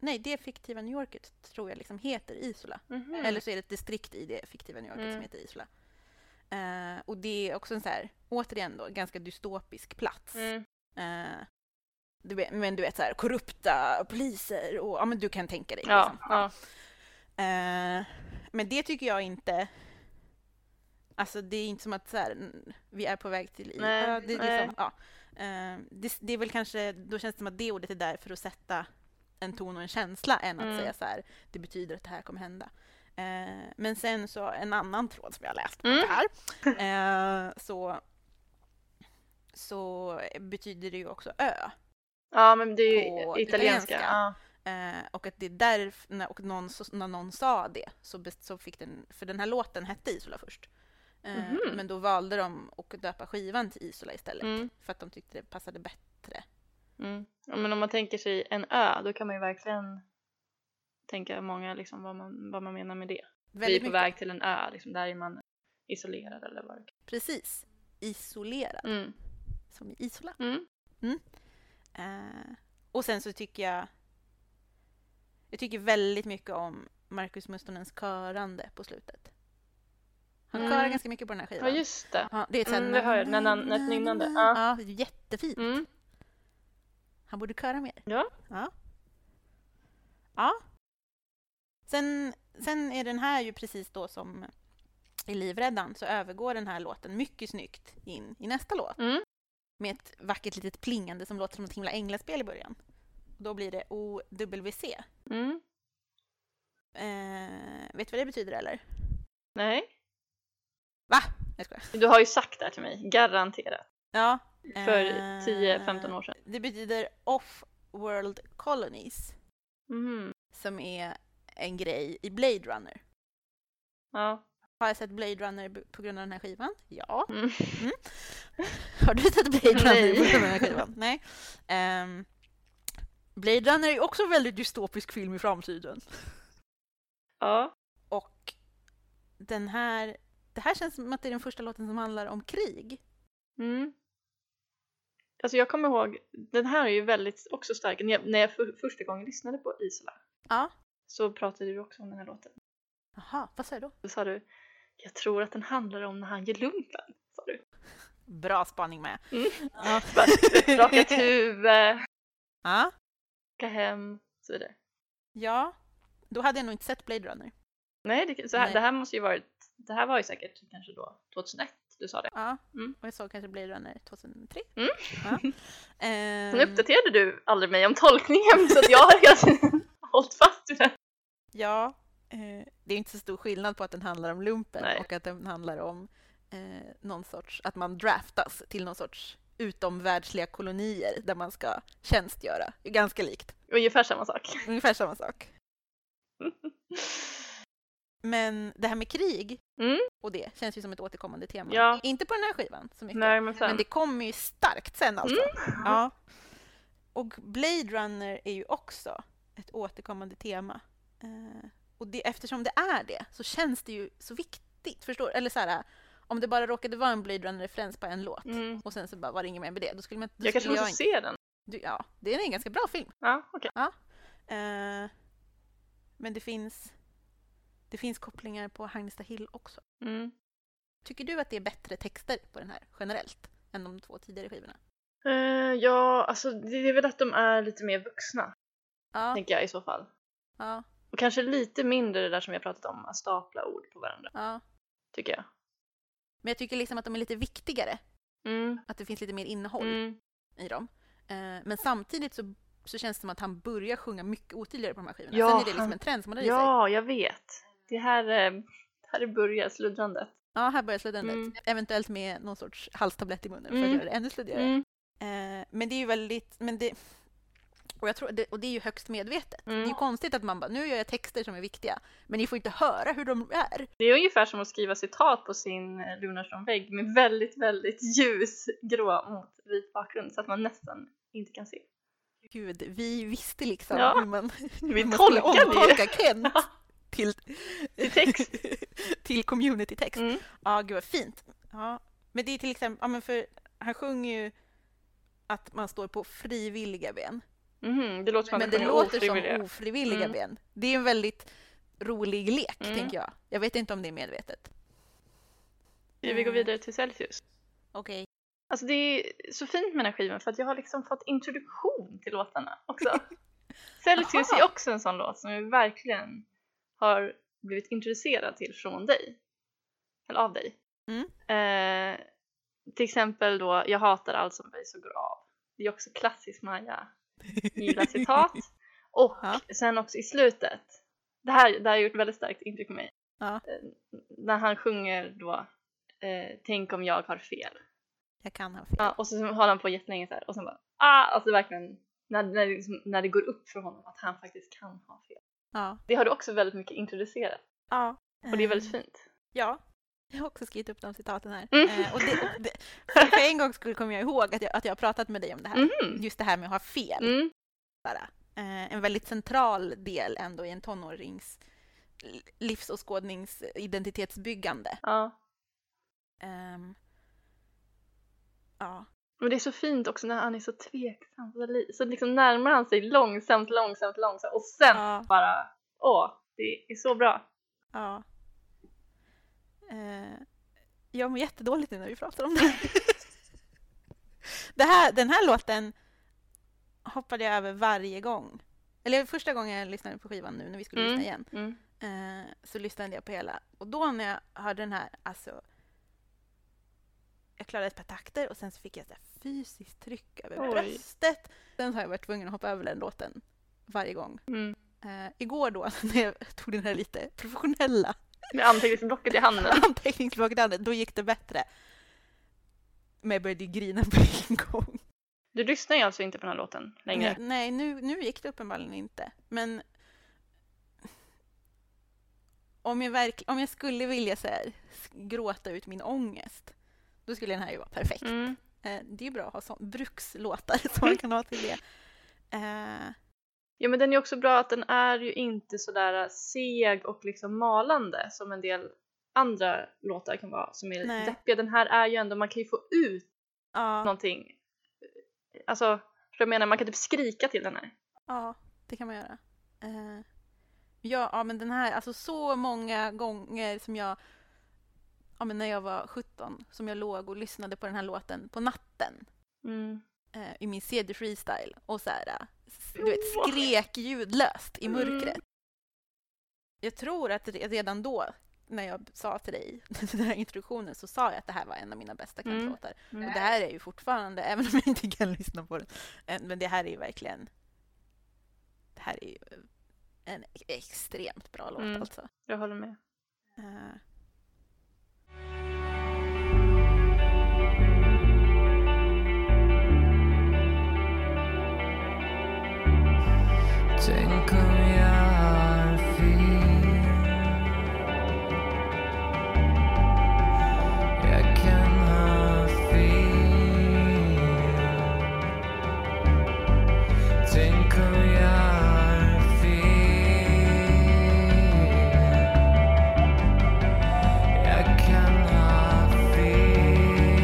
[SPEAKER 2] Nej, det fiktiva New Yorket tror jag liksom heter Isola.
[SPEAKER 1] Mhm.
[SPEAKER 2] Eller så är det ett distrikt i det fiktiva New Yorket
[SPEAKER 1] Mm.
[SPEAKER 2] som heter Isola. Eh, och det är också en så här, återigen då, ganska dystopisk plats.
[SPEAKER 1] Mm.
[SPEAKER 2] Eh, du vet, men du vet så här, korrupta poliser och ja men du kan tänka dig.
[SPEAKER 1] Ja,
[SPEAKER 2] liksom.
[SPEAKER 1] ja.
[SPEAKER 2] Eh, men det tycker jag inte... Alltså det är inte som att så här, mm, vi är på väg till... I-
[SPEAKER 1] Nej,
[SPEAKER 2] ja, det, är
[SPEAKER 1] nej.
[SPEAKER 2] liksom, ja. Eh, det, det är väl kanske, då känns det som att det ordet är där för att sätta en ton och en känsla än att
[SPEAKER 1] Mm.
[SPEAKER 2] säga så här, det betyder att det här kommer hända. Eh, men sen så en annan tråd som jag har läst på
[SPEAKER 1] Mm.
[SPEAKER 2] det här, eh, så, så betyder det ju också ö.
[SPEAKER 1] ja, men det är ju
[SPEAKER 2] På
[SPEAKER 1] italienska.
[SPEAKER 2] italienska.
[SPEAKER 1] Ja.
[SPEAKER 2] Eh, och att det är därför, när, och någon, så, när någon sa det så, best, så fick den, för den här låten hette Isola först. Eh,
[SPEAKER 1] Mhm.
[SPEAKER 2] Men då valde de att döpa skivan till Isola istället
[SPEAKER 1] Mm.
[SPEAKER 2] för att de tyckte det passade bättre.
[SPEAKER 1] Mm. Ja, men om man tänker sig en ö, då kan man ju verkligen tänka många liksom vad man, vad man menar med det. Vi är på väg till en ö, liksom, där är man isolerad eller vad det kan
[SPEAKER 2] Precis. Isolerad,
[SPEAKER 1] mm.
[SPEAKER 2] som i Isola.
[SPEAKER 1] Mm.
[SPEAKER 2] Eh, och sen så tycker jag... Jag tycker väldigt mycket om Markus Mustonens körande på slutet. Han
[SPEAKER 1] Mm.
[SPEAKER 2] körar ganska mycket på den här
[SPEAKER 1] Ja
[SPEAKER 2] skivan.
[SPEAKER 1] just det.
[SPEAKER 2] Ja, det är ett så här-
[SPEAKER 1] Mm, det hör jag. När- när- när ett nynnande. Ja.
[SPEAKER 2] Ja, jättefint.
[SPEAKER 1] Mm.
[SPEAKER 2] Han borde köra mer.
[SPEAKER 1] Ja.
[SPEAKER 2] Ja. Ja. Sen, sen är den här ju precis då som i Livräddan så övergår den här låten mycket snyggt in i nästa låt
[SPEAKER 1] Mm.
[SPEAKER 2] med ett vackert litet plingande som låter som ett himla änglaspel i början. Och då blir det OWC.
[SPEAKER 1] Mm.
[SPEAKER 2] Eh, vet du vad det betyder eller?
[SPEAKER 1] Nej,
[SPEAKER 2] Va? Jag skojar.
[SPEAKER 1] du har ju sagt det här till mig, garanterat.
[SPEAKER 2] Ja.
[SPEAKER 1] För
[SPEAKER 2] eh,
[SPEAKER 1] 10-15 år sedan.
[SPEAKER 2] Det betyder Off-World Colonies
[SPEAKER 1] Mm.
[SPEAKER 2] som är en grej i Blade Runner.
[SPEAKER 1] Ja.
[SPEAKER 2] Har jag sett Blade Runner b- på grund av den här skivan? Ja.
[SPEAKER 1] Mm.
[SPEAKER 2] Har du sett Blade Runner
[SPEAKER 1] Nej.
[SPEAKER 2] på grund av den här skivan? Nej. Ehm, Blade Runner är ju också en väldigt dystopisk film i framtiden.
[SPEAKER 1] ja.
[SPEAKER 2] Och den här... Det här känns som att det är den första låten som handlar om krig.
[SPEAKER 1] Mm. Alltså jag kommer ihåg, den här är ju väldigt också stark. När jag, när jag för, första gången lyssnade på Isola
[SPEAKER 2] Ja.
[SPEAKER 1] så pratade du också om den här låten.
[SPEAKER 2] Jaha, vad sa jag då?
[SPEAKER 1] Då sa du, jag tror att den handlar om när han gör lumpen. Sa du.
[SPEAKER 2] Bra spaning med.
[SPEAKER 1] Mm.
[SPEAKER 2] Ja.
[SPEAKER 1] Raka ett huvud,
[SPEAKER 2] ja.
[SPEAKER 1] åka hem och så vidare.
[SPEAKER 2] Ja, då hade jag nog inte sett Blade Runner.
[SPEAKER 1] Nej, det, så här,
[SPEAKER 2] Nej.
[SPEAKER 1] det här måste ju varit, det här var ju säkert kanske då 2001 du sa det.
[SPEAKER 2] Ja,
[SPEAKER 1] Mm.
[SPEAKER 2] och jag såg kanske Blade Runner 2003.
[SPEAKER 1] Mm.
[SPEAKER 2] Ja. Ehm,
[SPEAKER 1] Sen uppdaterade du aldrig mig om tolkningen så att jag har hela tiden hållit fast vid den.
[SPEAKER 2] ja, eh, det är inte så stor skillnad på att den handlar om lumpen
[SPEAKER 1] Nej.
[SPEAKER 2] och att den handlar om eh, någon sorts, att man draftas till någon sorts utomvärldsliga kolonier där man ska tjänstgöra. Det är Ganska likt,
[SPEAKER 1] Ungefär samma sak.
[SPEAKER 2] ungefär samma sak. Men det här med krig
[SPEAKER 1] Mm.
[SPEAKER 2] och det känns ju som ett återkommande tema.
[SPEAKER 1] Ja.
[SPEAKER 2] Inte på den här skivan så mycket.
[SPEAKER 1] Nej, men sen. Mm.
[SPEAKER 2] Men det kommer ju starkt sen alltså. Ja. Och Blade Runner är ju också ett återkommande tema. Eh, och det, eftersom det är det så känns det ju så viktigt. Förstår du? Eller så här, om det bara råkade vara en Blade Runner-referens på en låt
[SPEAKER 1] Mm.
[SPEAKER 2] och sen så bara var det inget mer med det. Då skulle man då
[SPEAKER 1] Jag kanske
[SPEAKER 2] skulle
[SPEAKER 1] måste
[SPEAKER 2] inte-
[SPEAKER 1] se den.
[SPEAKER 2] du, Ja, det är en ganska bra film.
[SPEAKER 1] Ja, okej.
[SPEAKER 2] Eh, men det finns, det finns kopplingar på Hagnestad Hill också.
[SPEAKER 1] Mm.
[SPEAKER 2] Tycker du att det är bättre texter på den här generellt än de två tidigare skivorna?
[SPEAKER 1] Eh, ja, alltså det är väl att de är lite mer vuxna,
[SPEAKER 2] Ja,
[SPEAKER 1] tänker jag i så fall.
[SPEAKER 2] ja,
[SPEAKER 1] Och kanske lite mindre det där som vi har pratat om, att stapla ord på varandra,
[SPEAKER 2] ja.
[SPEAKER 1] tycker jag.
[SPEAKER 2] Men jag tycker liksom att de är lite viktigare,
[SPEAKER 1] Mm.
[SPEAKER 2] att det finns lite mer innehåll
[SPEAKER 1] Mm.
[SPEAKER 2] i dem. Eh, men samtidigt så, så känns det som att han börjar sjunga mycket otydligare på de här skivorna.
[SPEAKER 1] Ja,
[SPEAKER 2] Sen är det liksom
[SPEAKER 1] han-
[SPEAKER 2] en trend som han har i sig.
[SPEAKER 1] Ja, jag vet. Det här, eh, det här börjar sluddrandet.
[SPEAKER 2] Ja, här börjar sluddandet.
[SPEAKER 1] Mm.
[SPEAKER 2] Eventuellt med någon sorts halstablett i munnen för
[SPEAKER 1] Mm.
[SPEAKER 2] att göra det ännu sluddigare.
[SPEAKER 1] Mm.
[SPEAKER 2] Eh, men det är ju väldigt... Men det, och, jag tror, det, och det är ju högst medvetet.
[SPEAKER 1] Mm.
[SPEAKER 2] Det är ju konstigt att man bara, nu gör jag texter som är viktiga, men ni får inte höra hur de är.
[SPEAKER 1] Det är ungefär som att skriva citat på sin eh, Lunarsson-vägg med väldigt, väldigt ljusgrå mot vit bakgrund så att man nästan inte kan se.
[SPEAKER 2] Gud, vi visste liksom
[SPEAKER 1] Ja.
[SPEAKER 2] hur man,
[SPEAKER 1] Vi
[SPEAKER 2] hur man skulle
[SPEAKER 1] tolkar det
[SPEAKER 2] omtolka Kent till,
[SPEAKER 1] i text.
[SPEAKER 2] till community-text.
[SPEAKER 1] Mm.
[SPEAKER 2] Ja, gud vad fint. Ja. Men det är till exempel, ja men för han sjunger ju att man står på frivilliga ben.
[SPEAKER 1] Mhm, det låter som att
[SPEAKER 2] Men det
[SPEAKER 1] sjunger
[SPEAKER 2] låter
[SPEAKER 1] ofrivilliga.
[SPEAKER 2] som ofrivilliga
[SPEAKER 1] Mm.
[SPEAKER 2] ben. Det är en väldigt rolig lek,
[SPEAKER 1] Mm.
[SPEAKER 2] tänker jag. Jag vet inte om det är medvetet.
[SPEAKER 1] Vi går
[SPEAKER 2] Mm.
[SPEAKER 1] vidare till Celsius.
[SPEAKER 2] Okej.
[SPEAKER 1] Alltså det är så fint med den här skivan för att jag har liksom fått introduktion till låtarna också. Celsius är
[SPEAKER 2] Jaha.
[SPEAKER 1] också en sån låt som jag verkligen har blivit introducerad till från dig. Eller av dig.
[SPEAKER 2] Mm.
[SPEAKER 1] Eh, till exempel då Jag hatar allt som böjs och går av. Det är också klassisk Maja. Gillar citat. Och
[SPEAKER 2] Ja.
[SPEAKER 1] sen också i slutet. Det här, det här har gjort väldigt starkt intryck på mig.
[SPEAKER 2] Ja.
[SPEAKER 1] Eh, när han sjunger då eh, Tänk om jag har fel.
[SPEAKER 2] Jag kan ha fel.
[SPEAKER 1] Ja, och så håller han på jättelänge så här och sen bara ah, alltså verkligen när, när, det liksom, när det går upp för honom att han faktiskt kan ha fel.
[SPEAKER 2] Ja.
[SPEAKER 1] Det har du också väldigt mycket introducerat
[SPEAKER 2] ja. Ehm.
[SPEAKER 1] och det är väldigt fint.
[SPEAKER 2] Ja. Jag har också skrivit upp de citaten här.
[SPEAKER 1] Mm.
[SPEAKER 2] Eh, och det, och det, för en gång skulle kommer jag ihåg att jag, att jag har pratat med dig om det här.
[SPEAKER 1] Mhm.
[SPEAKER 2] Just det här med att ha fel.
[SPEAKER 1] Mm.
[SPEAKER 2] Sara. Eh, en väldigt central del ändå i en tonårings li- livsåskådnings identitetsbyggande.
[SPEAKER 1] Ja.
[SPEAKER 2] Ehm, ja.
[SPEAKER 1] Men det är så fint också när han är så tveksam så, li- så liksom närmar han sig långsamt, långsamt, långsamt och sen
[SPEAKER 2] Ja.
[SPEAKER 1] bara åh, det är så bra.
[SPEAKER 2] ja. Eh, jag mår jättedåligt nu när vi pratar om det. det här. Den här låten hoppade jag över varje gång Eller första gången jag lyssnade på skivan nu när vi skulle
[SPEAKER 1] Mm.
[SPEAKER 2] lyssna igen.
[SPEAKER 1] Mm.
[SPEAKER 2] Eh, så lyssnade jag på hela. Och då när jag hörde den här, alltså. Jag klarade ett par takter och sen så fick jag så här fysiskt tryck över
[SPEAKER 1] Oj.
[SPEAKER 2] bröstet. Sen har jag varit tvungen att hoppa över den låten varje gång.
[SPEAKER 1] Mm.
[SPEAKER 2] Eh, igår då, när jag tog den här lite professionella
[SPEAKER 1] Med anteckningsblocket i handen.
[SPEAKER 2] anteckningsblocket, i handen, då gick det bättre. Men jag började ju grina på en gång.
[SPEAKER 1] Du lyssnar ju alltså inte på den här låten längre?
[SPEAKER 2] Nej, nej nu, nu gick det uppenbarligen inte. Men om jag, verk, om jag skulle vilja så här, s- gråta ut min ångest, då skulle den här ju vara perfekt.
[SPEAKER 1] Mm.
[SPEAKER 2] Eh, det är ju bra att ha så, brukslåtar som man kan ha till det. Eh,
[SPEAKER 1] Ja men den är också bra att den är ju inte sådär seg och liksom malande som en del andra låtar kan vara som är
[SPEAKER 2] Nej.
[SPEAKER 1] deppiga. Den här är ju ändå, man kan ju få ut
[SPEAKER 2] ja,
[SPEAKER 1] någonting. Alltså, förstår du vad jag menar? Man kan typ skrika till den här.
[SPEAKER 2] ja, det kan man göra. Eh, ja, ja, men den här, alltså så många gånger som jag, ja men när jag var 17, som jag låg och lyssnade på den här låten på natten. eh, i min CD freestyle och så här, eh, s- du vet,
[SPEAKER 1] Wow.
[SPEAKER 2] skrek ljudlöst i
[SPEAKER 1] Mm.
[SPEAKER 2] mörkret. Jag tror att re- redan då, när jag sa till dig den här introduktionen, så sa jag att det här var en av mina bästa
[SPEAKER 1] Mm.
[SPEAKER 2] kantlåtar.
[SPEAKER 1] Mm.
[SPEAKER 2] Och det här är ju fortfarande, även om jag inte kan lyssna på den, eh, men det här är ju verkligen... Det här är ju eh, en extremt bra låt
[SPEAKER 1] Mm.
[SPEAKER 2] alltså.
[SPEAKER 1] Jag håller med.
[SPEAKER 2] Eh,
[SPEAKER 3] Tänk om jag har fel Jag kan ha fel Tänk om jag har fel Jag kan ha fel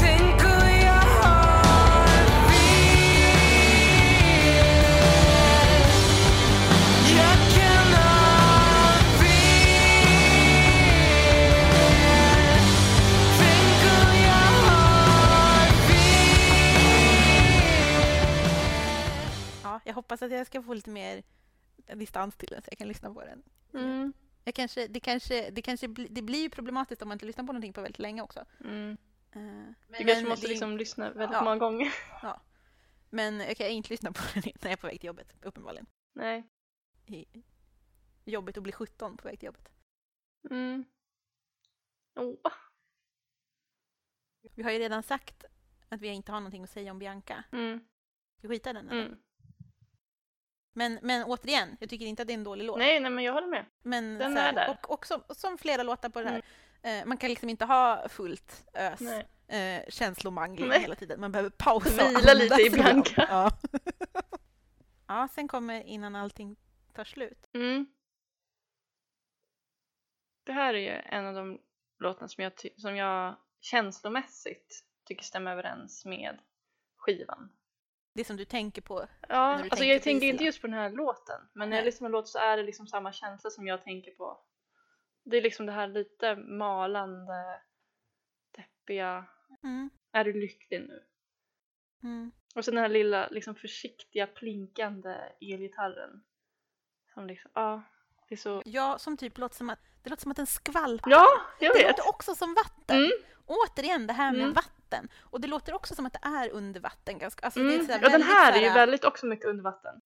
[SPEAKER 3] Tänk om jag har fel Jag kan ha fel Tänk om jag har fel
[SPEAKER 2] ja, jag hoppas att jag ska få lite mer distans till den så jag kan lyssna på den.
[SPEAKER 1] Mm.
[SPEAKER 2] Jag kanske, det, kanske, det, kanske bli, det blir ju problematiskt om man inte lyssnar på någonting på väldigt länge också.
[SPEAKER 1] Mm.
[SPEAKER 2] Eh, men,
[SPEAKER 1] Du kanske måste
[SPEAKER 2] det är-
[SPEAKER 1] liksom lyssna väldigt
[SPEAKER 2] Ja.
[SPEAKER 1] många gånger.
[SPEAKER 2] men jag kan inte lyssna på den när jag är på väg till jobbet, uppenbarligen.
[SPEAKER 1] Nej.
[SPEAKER 2] I- Jobbigt att bli 17 på väg till jobbet.
[SPEAKER 1] Mm. Åh.
[SPEAKER 2] Vi har ju redan sagt att vi inte har någonting att säga om Bianca.
[SPEAKER 1] Mm.
[SPEAKER 2] Ska vi skita i den eller?
[SPEAKER 1] Mm.
[SPEAKER 2] Men, men återigen, jag tycker inte att det är en dålig låt.
[SPEAKER 1] Nej, nej men jag håller med.
[SPEAKER 2] men
[SPEAKER 1] den
[SPEAKER 2] så här,
[SPEAKER 1] är där. Mm.
[SPEAKER 2] Och, och som, som flera låtar på det här, eh, man kan liksom inte ha fullt ös
[SPEAKER 1] Nej.
[SPEAKER 2] eh, känslomangling
[SPEAKER 1] Nej.
[SPEAKER 2] hela tiden. Man behöver pausa och
[SPEAKER 1] Vila lite
[SPEAKER 2] andas
[SPEAKER 1] i Bianca.
[SPEAKER 2] ibland. Ja. ja, sen kommer Innan allting tar slut.
[SPEAKER 1] Mm. Det här är ju en av de låtarna som jag, ty- som jag känslomässigt tycker stämmer överens med skivan.
[SPEAKER 2] Det som du tänker på.
[SPEAKER 1] Ja,
[SPEAKER 2] du
[SPEAKER 1] alltså
[SPEAKER 2] tänker
[SPEAKER 1] jag
[SPEAKER 2] på
[SPEAKER 1] tänker
[SPEAKER 2] Gisela.
[SPEAKER 1] inte just på den här låten, men när
[SPEAKER 2] Nej.
[SPEAKER 1] jag lyssnar på en låt så är det liksom samma känsla som jag tänker på. Det är liksom det här lite malande, deppiga,
[SPEAKER 2] Mm,
[SPEAKER 1] är du lycklig nu?
[SPEAKER 2] mm.
[SPEAKER 1] Och sen den här lilla liksom försiktiga plinkande elgitarren. Som liksom, ja, det är så...
[SPEAKER 2] Ja, som typ låter som att, det låter som att den skvalpar.
[SPEAKER 1] Ja, jag
[SPEAKER 2] det
[SPEAKER 1] vet!
[SPEAKER 2] låter också som vatten.
[SPEAKER 1] Mm.
[SPEAKER 2] Återigen det här med
[SPEAKER 1] Mm.
[SPEAKER 2] vatten. Och det låter också som att det är under vatten. Ganska, alltså det är
[SPEAKER 1] Mm.
[SPEAKER 2] så här
[SPEAKER 1] Ja, den
[SPEAKER 2] väldigt
[SPEAKER 1] här
[SPEAKER 2] så
[SPEAKER 1] är ju väldigt också mycket under vatten.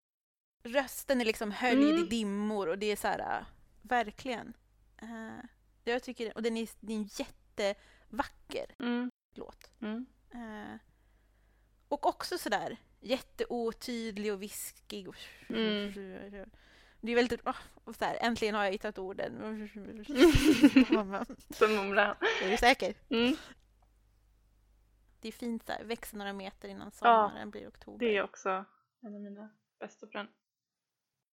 [SPEAKER 2] Rösten är liksom höljd i
[SPEAKER 1] Mm.
[SPEAKER 2] dimmor och det är så här, äh, verkligen. Eh, jag tycker, och den är, det är en jättevacker
[SPEAKER 1] Mm,
[SPEAKER 2] låt.
[SPEAKER 1] mm,
[SPEAKER 2] Eh, och också sådär jätteotydlig och viskig. Och
[SPEAKER 1] Mm.
[SPEAKER 2] Det är väldigt... ah, och sådär, äntligen har jag hittat orden.
[SPEAKER 1] så mumlar han.
[SPEAKER 2] är du säker?
[SPEAKER 1] Mm,
[SPEAKER 2] Det är fint där. Växer några meter innan sommaren blir oktober.
[SPEAKER 1] det är också en av mina bästa på den.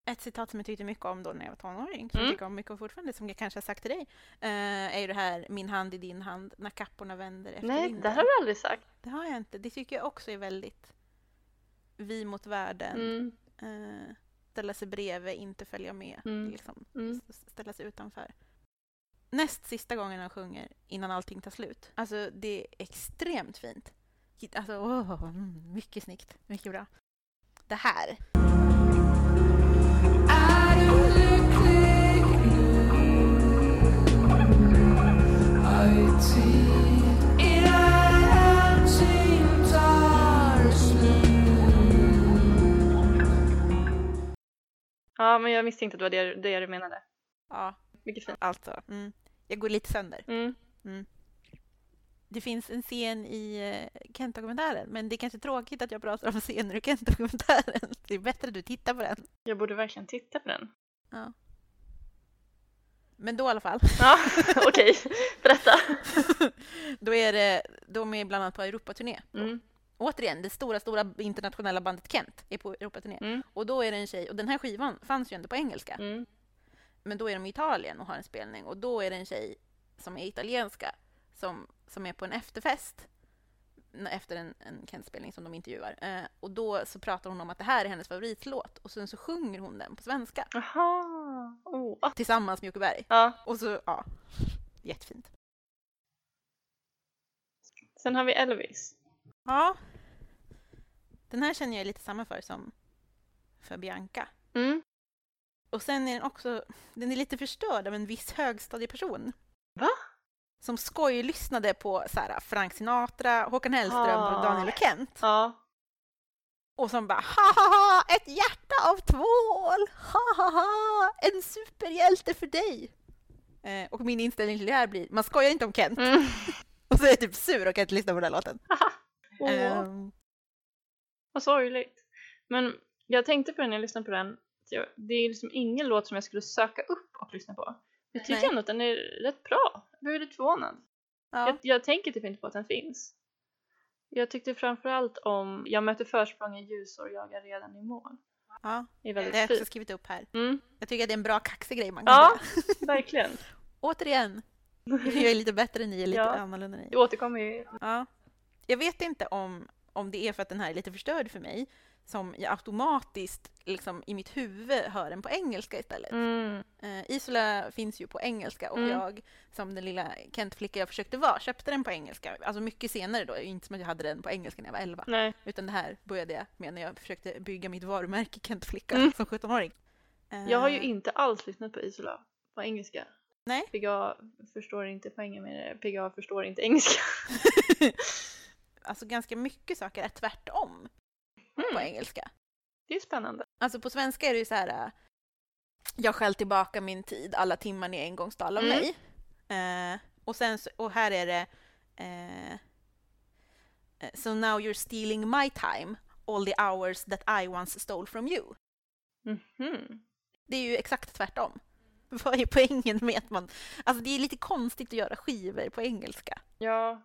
[SPEAKER 2] Ett citat som jag tyckte mycket om då när jag var tonåring, som
[SPEAKER 1] Mm.
[SPEAKER 2] jag tycker om mycket om fortfarande, som jag kanske har sagt till dig, eh, är ju det här Min hand i din hand, när kapporna vänder efter
[SPEAKER 1] Nej,
[SPEAKER 2] vinden.
[SPEAKER 1] det har du aldrig sagt.
[SPEAKER 2] det har jag inte. Det tycker jag också är väldigt vi mot världen.
[SPEAKER 1] Mm,
[SPEAKER 2] eh, ställa sig bredvid, inte följa med,
[SPEAKER 1] Mm.
[SPEAKER 2] liksom,
[SPEAKER 1] mm,
[SPEAKER 2] s- ställa sig utanför. Näst sista gången han sjunger innan allting tar slut. Alltså det är extremt fint. hit- Alltså, åh, mm, mycket snyggt. Mycket bra. Det här.
[SPEAKER 1] Ja, men jag misstänkte att det var det, det du menade.
[SPEAKER 2] Ja,
[SPEAKER 1] Mycket fint.
[SPEAKER 2] alltså. Mm, jag går lite sönder.
[SPEAKER 1] Mm.
[SPEAKER 2] Det finns en scen i eh, Kent-dokumentären, men det är kanske tråkigt att jag pratar om scener ur Kent-dokumentären. Det är bättre att du tittar på den.
[SPEAKER 1] Jag borde verkligen titta på den.
[SPEAKER 2] Men då i alla fall.
[SPEAKER 1] Ja, okej. Berätta.
[SPEAKER 2] då är det, de är bland annat på Europaturné.
[SPEAKER 1] Mm.
[SPEAKER 2] Återigen, det stora, stora internationella bandet Kent är på Europaturné.
[SPEAKER 1] Mm.
[SPEAKER 2] Och då är det en tjej, och den här skivan fanns ju ändå på engelska,
[SPEAKER 1] Mm.
[SPEAKER 2] men då är de i Italien och har en spelning och då är det en tjej som är italienska som, som är på en efterfest n- efter en, en Kent-spelning som de intervjuar. Eh, och då så pratar hon om att det här är hennes favoritlåt och sen så sjunger hon den på svenska
[SPEAKER 1] Jaha. Oh. ah.
[SPEAKER 2] tillsammans med Jocke Berg.
[SPEAKER 1] Ja.
[SPEAKER 2] Och så, ja, jättefint.
[SPEAKER 1] Sen har vi Elvis.
[SPEAKER 2] Ja. Den här känner jag lite samma för som för Bianca.
[SPEAKER 1] Mm.
[SPEAKER 2] Och sen är den också, den är lite förstörd av en viss högstadieperson.
[SPEAKER 1] Va?
[SPEAKER 2] Som skojlyssnade på så här, äh, Frank Sinatra, Håkan Hellström
[SPEAKER 1] Ah.
[SPEAKER 2] och Daniel och Kent.
[SPEAKER 1] Ja.
[SPEAKER 2] Och som bara ha ha ha, ett hjärta av tvål! Ha ha ha, en superhjälte för dig! Eh, och min inställning till det här blir, man skojar inte om Kent.
[SPEAKER 1] Mm.
[SPEAKER 2] Och så är jag typ sur och kan inte lyssna på den här låten.
[SPEAKER 1] Åh,
[SPEAKER 2] Ehm,
[SPEAKER 1] Vad sorgligt. Men jag tänkte på det när jag lyssnade på den. att jag- Det är liksom ingen låt som jag skulle söka upp och lyssna på. Jag tycker
[SPEAKER 2] Nej.
[SPEAKER 1] ändå att den är rätt bra. Jag blev lite förvånad.
[SPEAKER 2] ja.
[SPEAKER 1] Jag, jag tänker typ inte på att den finns. Jag tyckte framförallt om Jag möter försprång i ljusår, jag är redan i mål.
[SPEAKER 2] ja.
[SPEAKER 1] Det är
[SPEAKER 2] Det har jag
[SPEAKER 1] väldigt
[SPEAKER 2] också
[SPEAKER 1] fint.
[SPEAKER 2] skrivit upp här.
[SPEAKER 1] Mm,
[SPEAKER 2] Jag tycker att det är en bra kaxig grej man kan
[SPEAKER 1] Ja.
[SPEAKER 2] göra.
[SPEAKER 1] verkligen.
[SPEAKER 2] Återigen, jag är lite bättre än ni, lite
[SPEAKER 1] Ja.
[SPEAKER 2] annorlunda än ni.
[SPEAKER 1] Det återkommer ju.
[SPEAKER 2] Ja. Jag vet inte om, om det är för att den här är lite förstörd för mig som jag automatiskt liksom, i mitt huvud hör den på engelska istället.
[SPEAKER 1] Mm.
[SPEAKER 2] Eh, Isola finns ju på engelska och
[SPEAKER 1] Mm.
[SPEAKER 2] jag som den lilla Kent-flicka jag försökte vara köpte den på engelska. Alltså mycket senare då, inte som att jag hade den på engelska när jag var 11.
[SPEAKER 1] Nej.
[SPEAKER 2] Utan det här började jag med när jag försökte bygga mitt varumärke Kent-flicka
[SPEAKER 1] Mm.
[SPEAKER 2] som 17-åring. Eh,
[SPEAKER 1] Jag har ju inte alls lyssnat på Isola på engelska.
[SPEAKER 2] Nej.
[SPEAKER 1] PGA förstår inte poängen med det. PGA förstår inte engelska.
[SPEAKER 2] alltså ganska mycket saker är tvärtom
[SPEAKER 1] Mm.
[SPEAKER 2] på engelska.
[SPEAKER 1] Det är spännande.
[SPEAKER 2] Alltså på svenska är det ju så här äh, Jag skäll tillbaka min tid, alla timmar ni en gång stal av
[SPEAKER 1] Mm.
[SPEAKER 2] mig. Eh, och, sen så, och här är det eh, eh, So now you're stealing my time, all the hours that I once stole from you.
[SPEAKER 1] Mhm.
[SPEAKER 2] Det är ju exakt tvärtom. Vad är poängen med att man... Alltså det är lite konstigt att göra skivor på engelska.
[SPEAKER 1] Ja,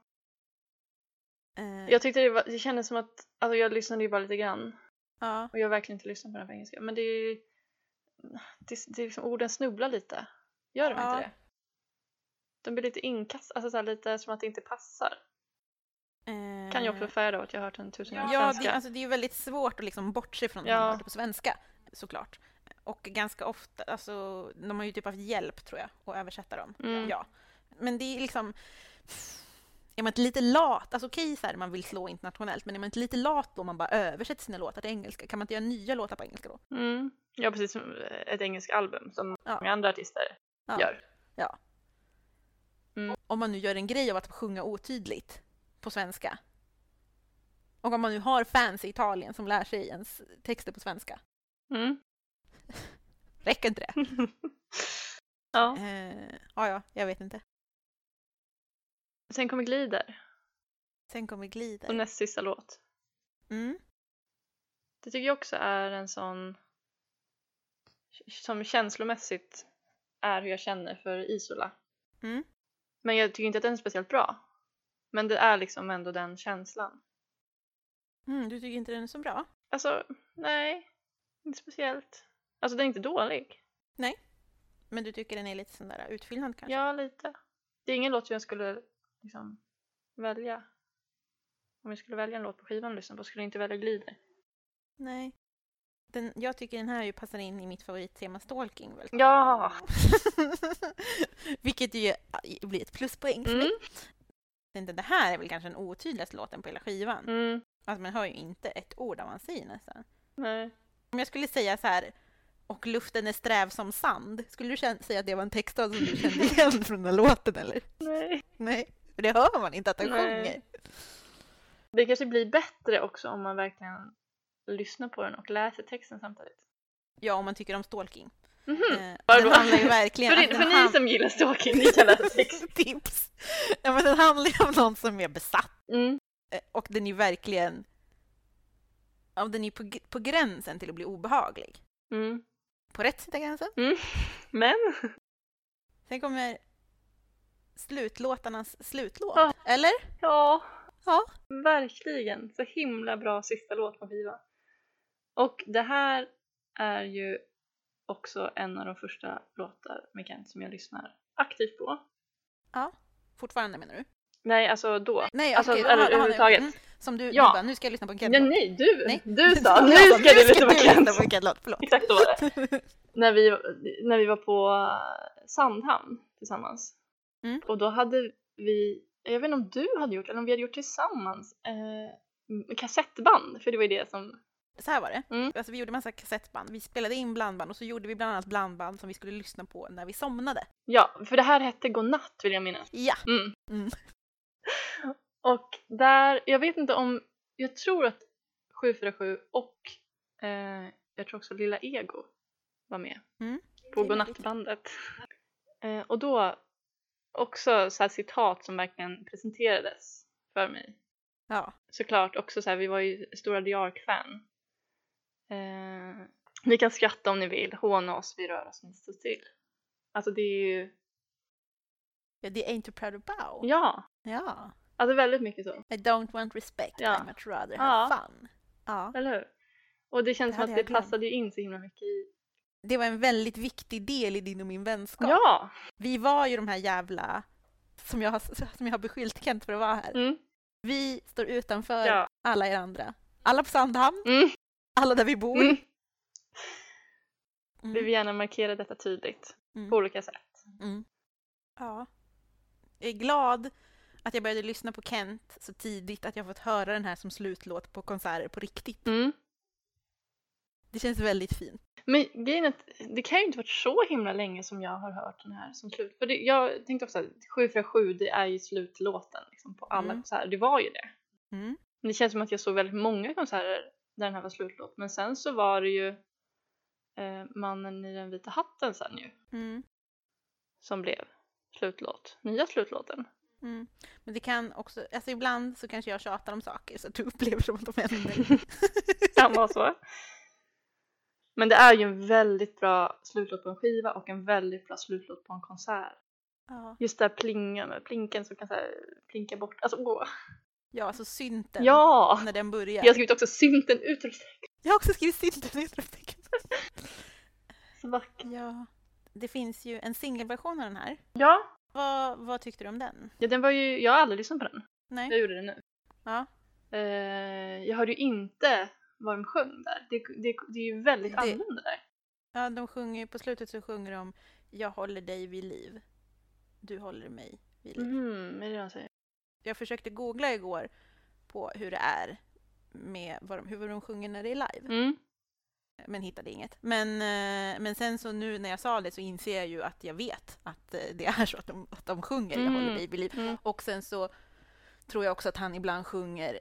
[SPEAKER 2] Eh,
[SPEAKER 1] jag tyckte det, var, det kändes som att, alltså jag lyssnade ju bara lite grann
[SPEAKER 2] ja.
[SPEAKER 1] och jag har verkligen inte lyssnat på den på engelska men det är ju, det, det är liksom orden snubblar lite, gör de
[SPEAKER 2] Ja.
[SPEAKER 1] inte det? De blir lite inkastade, alltså så här, lite som att det inte passar.
[SPEAKER 2] eh,
[SPEAKER 1] Kan ju också vara färd av att jag har hört den tusen gånger på
[SPEAKER 2] Ja, det,
[SPEAKER 1] svenska.
[SPEAKER 2] alltså, det är ju väldigt svårt att liksom bortse från
[SPEAKER 1] Ja.
[SPEAKER 2] när man hört det på svenska, såklart. Och ganska ofta, alltså, de har ju typ haft hjälp tror jag, att översätta dem.
[SPEAKER 1] Mm.
[SPEAKER 2] Ja. Men det är liksom... Är man inte lite lat, alltså okej så här, man vill slå internationellt, men är man inte lite lat då om man bara översätter sina låtar till engelska? Kan man inte göra nya låtar på engelska då?
[SPEAKER 1] Mm. Ja, precis som ett engelskt album som
[SPEAKER 2] Ja.
[SPEAKER 1] många andra artister
[SPEAKER 2] Ja.
[SPEAKER 1] gör.
[SPEAKER 2] Om man nu gör en grej av att sjunga otydligt på svenska. Och om man nu har fans i Italien som lär sig ens texter på svenska.
[SPEAKER 1] Mm.
[SPEAKER 2] Räcker inte det?
[SPEAKER 1] ja.
[SPEAKER 2] Eh, ja, ja, jag vet inte.
[SPEAKER 1] Sen kommer Glider
[SPEAKER 2] Sen kommer Glider.
[SPEAKER 1] och näst sista låt.
[SPEAKER 2] Mm.
[SPEAKER 1] Det tycker jag också är en sån som känslomässigt är hur jag känner för Isola.
[SPEAKER 2] Mm.
[SPEAKER 1] Men jag tycker inte att den är speciellt bra. Men det är liksom ändå den känslan.
[SPEAKER 2] Mm, du tycker inte den är så bra?
[SPEAKER 1] Alltså, nej. Inte speciellt. Alltså den är inte dålig.
[SPEAKER 2] Men du tycker den är lite sån där utfyllnad kanske?
[SPEAKER 1] Ja, lite. Det är ingen låt som jag skulle liksom välja. Om jag skulle välja en låt på skivan och lyssna på skulle jag inte välja Glider.
[SPEAKER 2] Nej. Den, jag tycker den här ju passar in i mitt favorittema stalking väldigt
[SPEAKER 1] Ja!
[SPEAKER 2] Vilket ju eh, blir ett äh, pluspoäng för mig.
[SPEAKER 1] Mm.
[SPEAKER 2] tänkte det här är väl kanske den otydligaste låten på hela skivan.
[SPEAKER 1] Mm.
[SPEAKER 2] Alltså man hör ju inte ett ord av vad han säger nästan.
[SPEAKER 1] Nej.
[SPEAKER 2] Om jag skulle säga så här och luften är sträv som sand, skulle du kän- säga att det var en textrad som du kände igen från den här låten eller?
[SPEAKER 1] Nej.
[SPEAKER 2] Nej, för det hör man inte att han
[SPEAKER 1] Nej.
[SPEAKER 2] sjunger.
[SPEAKER 1] Det kanske blir bättre också om man verkligen lyssnar på den och läser texten samtidigt.
[SPEAKER 2] Ja, om man tycker om stalking.
[SPEAKER 1] Mhm.
[SPEAKER 2] Eh,
[SPEAKER 1] vad
[SPEAKER 2] den
[SPEAKER 1] bra.
[SPEAKER 2] handlar ju verkligen...
[SPEAKER 1] För,
[SPEAKER 2] att
[SPEAKER 1] ni-
[SPEAKER 2] den
[SPEAKER 1] för ni
[SPEAKER 2] hand-
[SPEAKER 1] som gillar stalking, ni kan läsa texten.
[SPEAKER 2] Tips! Ja, men den handlar ju om någon som är besatt.
[SPEAKER 1] Mm.
[SPEAKER 2] Eh, Och den är ju verkligen... Ja, den är ju på, gr- på gränsen till att bli obehaglig.
[SPEAKER 1] Mm.
[SPEAKER 2] På rätt sida gränsen.
[SPEAKER 1] Men
[SPEAKER 2] Sen kommer slutlåtarnas slutlåt.
[SPEAKER 1] Ja.
[SPEAKER 2] Eller?
[SPEAKER 1] Ja.
[SPEAKER 2] Ja.
[SPEAKER 1] Verkligen. Så himla bra sista låt på skiva. Och det här är ju också en av de första låtar med Kent som jag lyssnar aktivt på.
[SPEAKER 2] Fortfarande menar du?
[SPEAKER 1] Nej, alltså då.
[SPEAKER 2] Nej,
[SPEAKER 1] Alltså,
[SPEAKER 2] okej,
[SPEAKER 1] eller
[SPEAKER 2] jaha, jaha,
[SPEAKER 1] överhuvudtaget.
[SPEAKER 2] mm, Som du,
[SPEAKER 1] Ja.
[SPEAKER 2] du bara, nu ska jag lyssna på en
[SPEAKER 1] Nej,
[SPEAKER 2] Kent-låt.
[SPEAKER 1] nej, du,
[SPEAKER 2] Nej.
[SPEAKER 1] du sa nu ska du lyssna på Kent.
[SPEAKER 2] på en Kent-låt. Förlåt.
[SPEAKER 1] Exakt så var det. när, vi, när vi var på Sandhamn tillsammans.
[SPEAKER 2] Mm.
[SPEAKER 1] Och då hade vi, jag vet inte om du hade gjort eller om vi hade gjort tillsammans, eh, kassettband. För det var ju det som
[SPEAKER 2] Så här var det.
[SPEAKER 1] Mm.
[SPEAKER 2] Alltså, vi gjorde massa kassettband. Vi spelade in blandband och så gjorde vi bland annat blandband som vi skulle lyssna på när vi somnade.
[SPEAKER 1] Ja, för det här hette Godnatt vill jag minnas.
[SPEAKER 2] Ja,
[SPEAKER 1] Mm.
[SPEAKER 2] Mm.
[SPEAKER 1] Och där, jag vet inte om, jag tror att 747 och eh, jag tror också Lilla Ego var med
[SPEAKER 2] Mm.
[SPEAKER 1] på
[SPEAKER 2] Det är
[SPEAKER 1] Godnattbandet. Eh, och då också så här citat som verkligen presenterades för mig.
[SPEAKER 2] ja.
[SPEAKER 1] Såklart också så här, vi var ju stora The Ark-fan. Eh, ni kan skratta om ni vill, håna oss, vi rör oss inte så still. Alltså det är ju,
[SPEAKER 2] ja det är inte proud about.
[SPEAKER 1] ja!
[SPEAKER 2] Ja.
[SPEAKER 1] Alltså väldigt mycket så,
[SPEAKER 2] I don't want respect,
[SPEAKER 1] Ja.
[SPEAKER 2] I much rather
[SPEAKER 1] Ja.
[SPEAKER 2] have fun. Ja.
[SPEAKER 1] eller hur? Och det
[SPEAKER 2] Det
[SPEAKER 1] känns som
[SPEAKER 2] hade
[SPEAKER 1] att det
[SPEAKER 2] jag glömt.
[SPEAKER 1] passade ju in så himla mycket i...
[SPEAKER 2] Det var en väldigt viktig del i din och min vänskap.
[SPEAKER 1] Ja!
[SPEAKER 2] Vi var ju de här jävla, som jag har, som jag har beskyllt Kent för att vara här.
[SPEAKER 1] Mm.
[SPEAKER 2] Vi står utanför
[SPEAKER 1] Ja.
[SPEAKER 2] alla er andra. Alla på Sandhamn,
[SPEAKER 1] Mm.
[SPEAKER 2] alla där vi bor.
[SPEAKER 1] Mm.
[SPEAKER 2] Mm.
[SPEAKER 1] Vi vill gärna markera detta tydligt,
[SPEAKER 2] Mm.
[SPEAKER 1] på olika sätt.
[SPEAKER 2] Mm. Ja. Jag är glad att jag började lyssna på Kent så tidigt att jag fått höra den här som slutlåt på konserter på riktigt.
[SPEAKER 1] Mm.
[SPEAKER 2] Det känns väldigt fint.
[SPEAKER 1] Men grejen är att det kan ju inte varit så himla länge som jag har hört den här som slut. För det, jag tänkte också att 747 det är ju slutlåten liksom, på alla
[SPEAKER 2] Mm.
[SPEAKER 1] konserter, det var ju det.
[SPEAKER 2] Mm.
[SPEAKER 1] Men det känns som att jag såg väldigt många konserter där den här var slutlåt. Men sen så var det ju eh, Mannen i den vita hatten sen ju,
[SPEAKER 2] Mm.
[SPEAKER 1] som blev slutlåt. Nya slutlåten.
[SPEAKER 2] Mm. Men det kan också, alltså ibland så kanske jag tjatar om saker så att du upplever som att de händer.
[SPEAKER 1] kan vara så. Men det är ju en väldigt bra slutlåt på en skiva och en väldigt bra slutlåt på en konsert.
[SPEAKER 2] ja.
[SPEAKER 1] Just det här plinga med plinken som kan så här, plinka bort. Alltså åh!
[SPEAKER 2] ja, alltså synten.
[SPEAKER 1] Ja!
[SPEAKER 2] När den börjar.
[SPEAKER 1] Jag har skrivit också synten utropstecken.
[SPEAKER 2] Jag har också skrivit synten i utropstecken.
[SPEAKER 1] Så vackert.
[SPEAKER 2] Ja. Det finns ju en singelversion av den här.
[SPEAKER 1] Ja.
[SPEAKER 2] Vad, vad tyckte du om den?
[SPEAKER 1] ja, den var ju, jag har aldrig lyssnat på den.
[SPEAKER 2] Nej?
[SPEAKER 1] Jag gjorde det nu.
[SPEAKER 2] Ja.
[SPEAKER 1] Eh, jag hörde ju inte vad de sjöng där. Det, det, det är ju väldigt
[SPEAKER 2] Det-
[SPEAKER 1] annorlunda där.
[SPEAKER 2] Ja, de sjunger ju- på slutet så sjunger de Jag håller dig vid liv. Du håller mig vid liv.
[SPEAKER 1] Mm, är det det de säger?
[SPEAKER 2] Jag försökte googla igår på hur det är med vad de, hur de sjunger när det är live.
[SPEAKER 1] Mm.
[SPEAKER 2] Men hittade inget. Men, eh, men sen så nu när jag sa det så inser jag ju att jag vet att eh, det är så att de, att de sjunger Jag håller
[SPEAKER 1] Mm.
[SPEAKER 2] dig vid liv.
[SPEAKER 1] Mm.
[SPEAKER 2] Och sen så tror jag också att han ibland sjunger,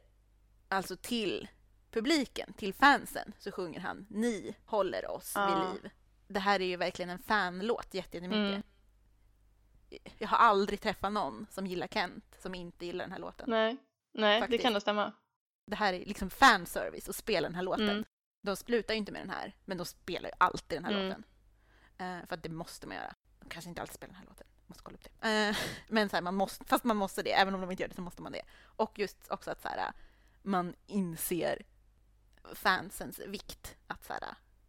[SPEAKER 2] alltså till publiken, till fansen, så sjunger han Ni håller oss
[SPEAKER 1] Ja.
[SPEAKER 2] vid liv. Det här är ju verkligen en fanlåt jätte-
[SPEAKER 1] Mm.
[SPEAKER 2] jättemycket. Jag har aldrig träffat någon som gillar Kent som inte gillar den här låten.
[SPEAKER 1] Nej, Nej det
[SPEAKER 2] Faktiskt.
[SPEAKER 1] kan nog stämma.
[SPEAKER 2] Det här är liksom fanservice att spela den här låten.
[SPEAKER 1] Mm.
[SPEAKER 2] De slutar ju inte med den här, men de spelar ju alltid den här
[SPEAKER 1] Mm.
[SPEAKER 2] låten. Eh, för att det måste man göra. De kanske inte alltid spelar den här låten. Måste kolla upp det. Eh, men så här, man måste, fast man måste det, även om de inte gör det så måste man det. Och just också att så här, man inser fansens vikt. Att så här,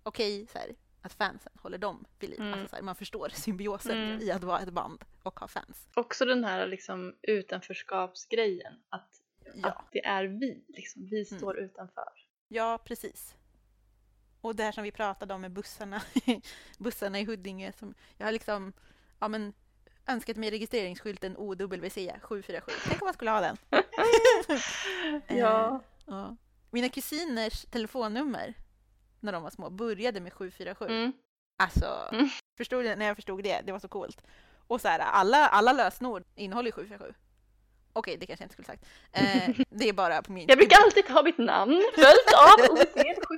[SPEAKER 2] okej, så här, att fansen håller dem vid liv.
[SPEAKER 1] Mm.
[SPEAKER 2] Alltså, så här, man förstår symbiosen
[SPEAKER 1] Mm.
[SPEAKER 2] i att vara ett band och ha fans.
[SPEAKER 1] Också den här liksom utanförskapsgrejen. Att
[SPEAKER 2] Ja,
[SPEAKER 1] att det är vi, liksom. vi
[SPEAKER 2] Mm.
[SPEAKER 1] står utanför.
[SPEAKER 2] ja precis. Och det här som vi pratade om med bussarna, bussarna i Huddinge. Som, jag har liksom, ja men önskat mig registreringsskylten OWC 747. Tänk om man skulle ha den. Eh,
[SPEAKER 1] Ja.
[SPEAKER 2] ja. Mina kusiners telefonnummer när de var små började med 747.
[SPEAKER 1] Mm.
[SPEAKER 2] Alltså,
[SPEAKER 1] Mm.
[SPEAKER 2] förstod jag, när jag förstod det, det var så coolt. Och så här, alla, alla lösenord innehåller ju 747. Okej, det kanske jag inte skulle sagt. Eh, det är bara på min...
[SPEAKER 1] Jag brukar alltid ta mitt namn följt av OET 747.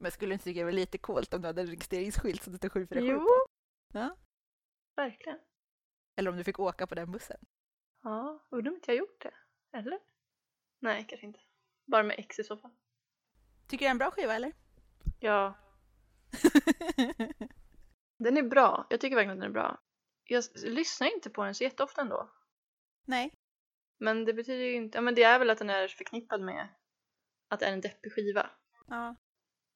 [SPEAKER 2] Men skulle du inte tycka det var lite coolt om du hade en registreringsskylt som det stod 747
[SPEAKER 1] Jo.
[SPEAKER 2] på? Ja.
[SPEAKER 1] Verkligen.
[SPEAKER 2] Eller om du fick åka på den bussen.
[SPEAKER 1] Ja, undrar om inte jag gjort det. Eller? Nej, kanske inte. Bara med X i så fall.
[SPEAKER 2] Tycker du det är en bra skiva eller?
[SPEAKER 1] Ja, den är bra. Jag tycker verkligen att den är bra. Jag s- lyssnar inte på den så jätteofta ändå.
[SPEAKER 2] Nej.
[SPEAKER 1] Men det betyder ju inte... Ja, men det är väl att den är förknippad med att det är en deppig skiva.
[SPEAKER 2] Ja.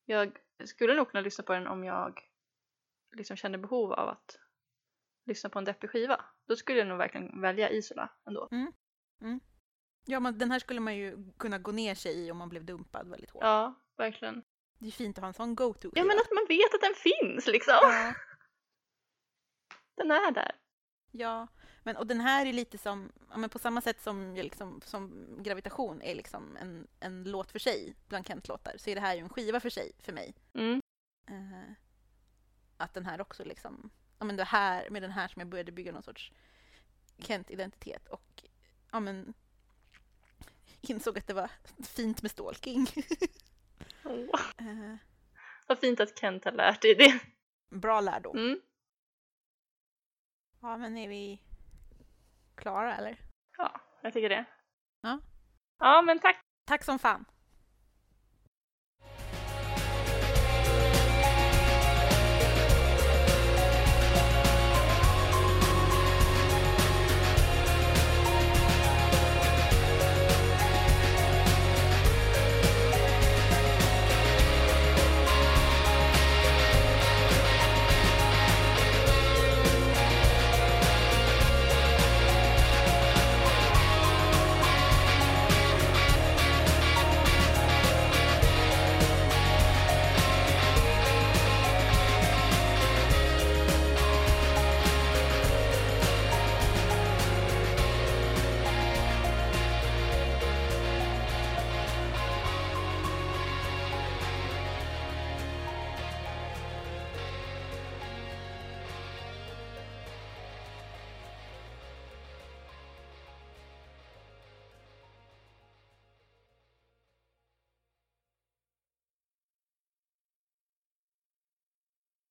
[SPEAKER 1] Jag skulle nog kunna lyssna på den om jag liksom känner behov av att lyssna på en deppig skiva. Då skulle jag nog verkligen välja Isola ändå.
[SPEAKER 2] Ja, men den här skulle man ju kunna gå ner sig i om man blev dumpad väldigt hårt.
[SPEAKER 1] Ja, verkligen.
[SPEAKER 2] Det är ju fint att ha en sån go-to.
[SPEAKER 1] Ja, men att man vet att den finns liksom.
[SPEAKER 2] ja.
[SPEAKER 1] Den är där.
[SPEAKER 2] Ja, men och den här är lite som, ja, men på samma sätt som, ju liksom, som Gravitation är liksom en, en låt för sig bland Kents låtar, så är det här ju en skiva för sig för mig.
[SPEAKER 1] Mm.
[SPEAKER 2] Eh, att den här också liksom, ja men det här, med den här som jag började bygga någon sorts Kent-identitet och ja men insåg att det var fint med stalking.
[SPEAKER 1] Åh,
[SPEAKER 2] Eh,
[SPEAKER 1] vad fint att Kent har lärt dig det.
[SPEAKER 2] bra lärdom.
[SPEAKER 1] Mm.
[SPEAKER 2] Ja, men är vi klara eller?
[SPEAKER 1] Ja, jag tycker det.
[SPEAKER 2] Ja.
[SPEAKER 1] Ja, men tack.
[SPEAKER 2] Tack som fan!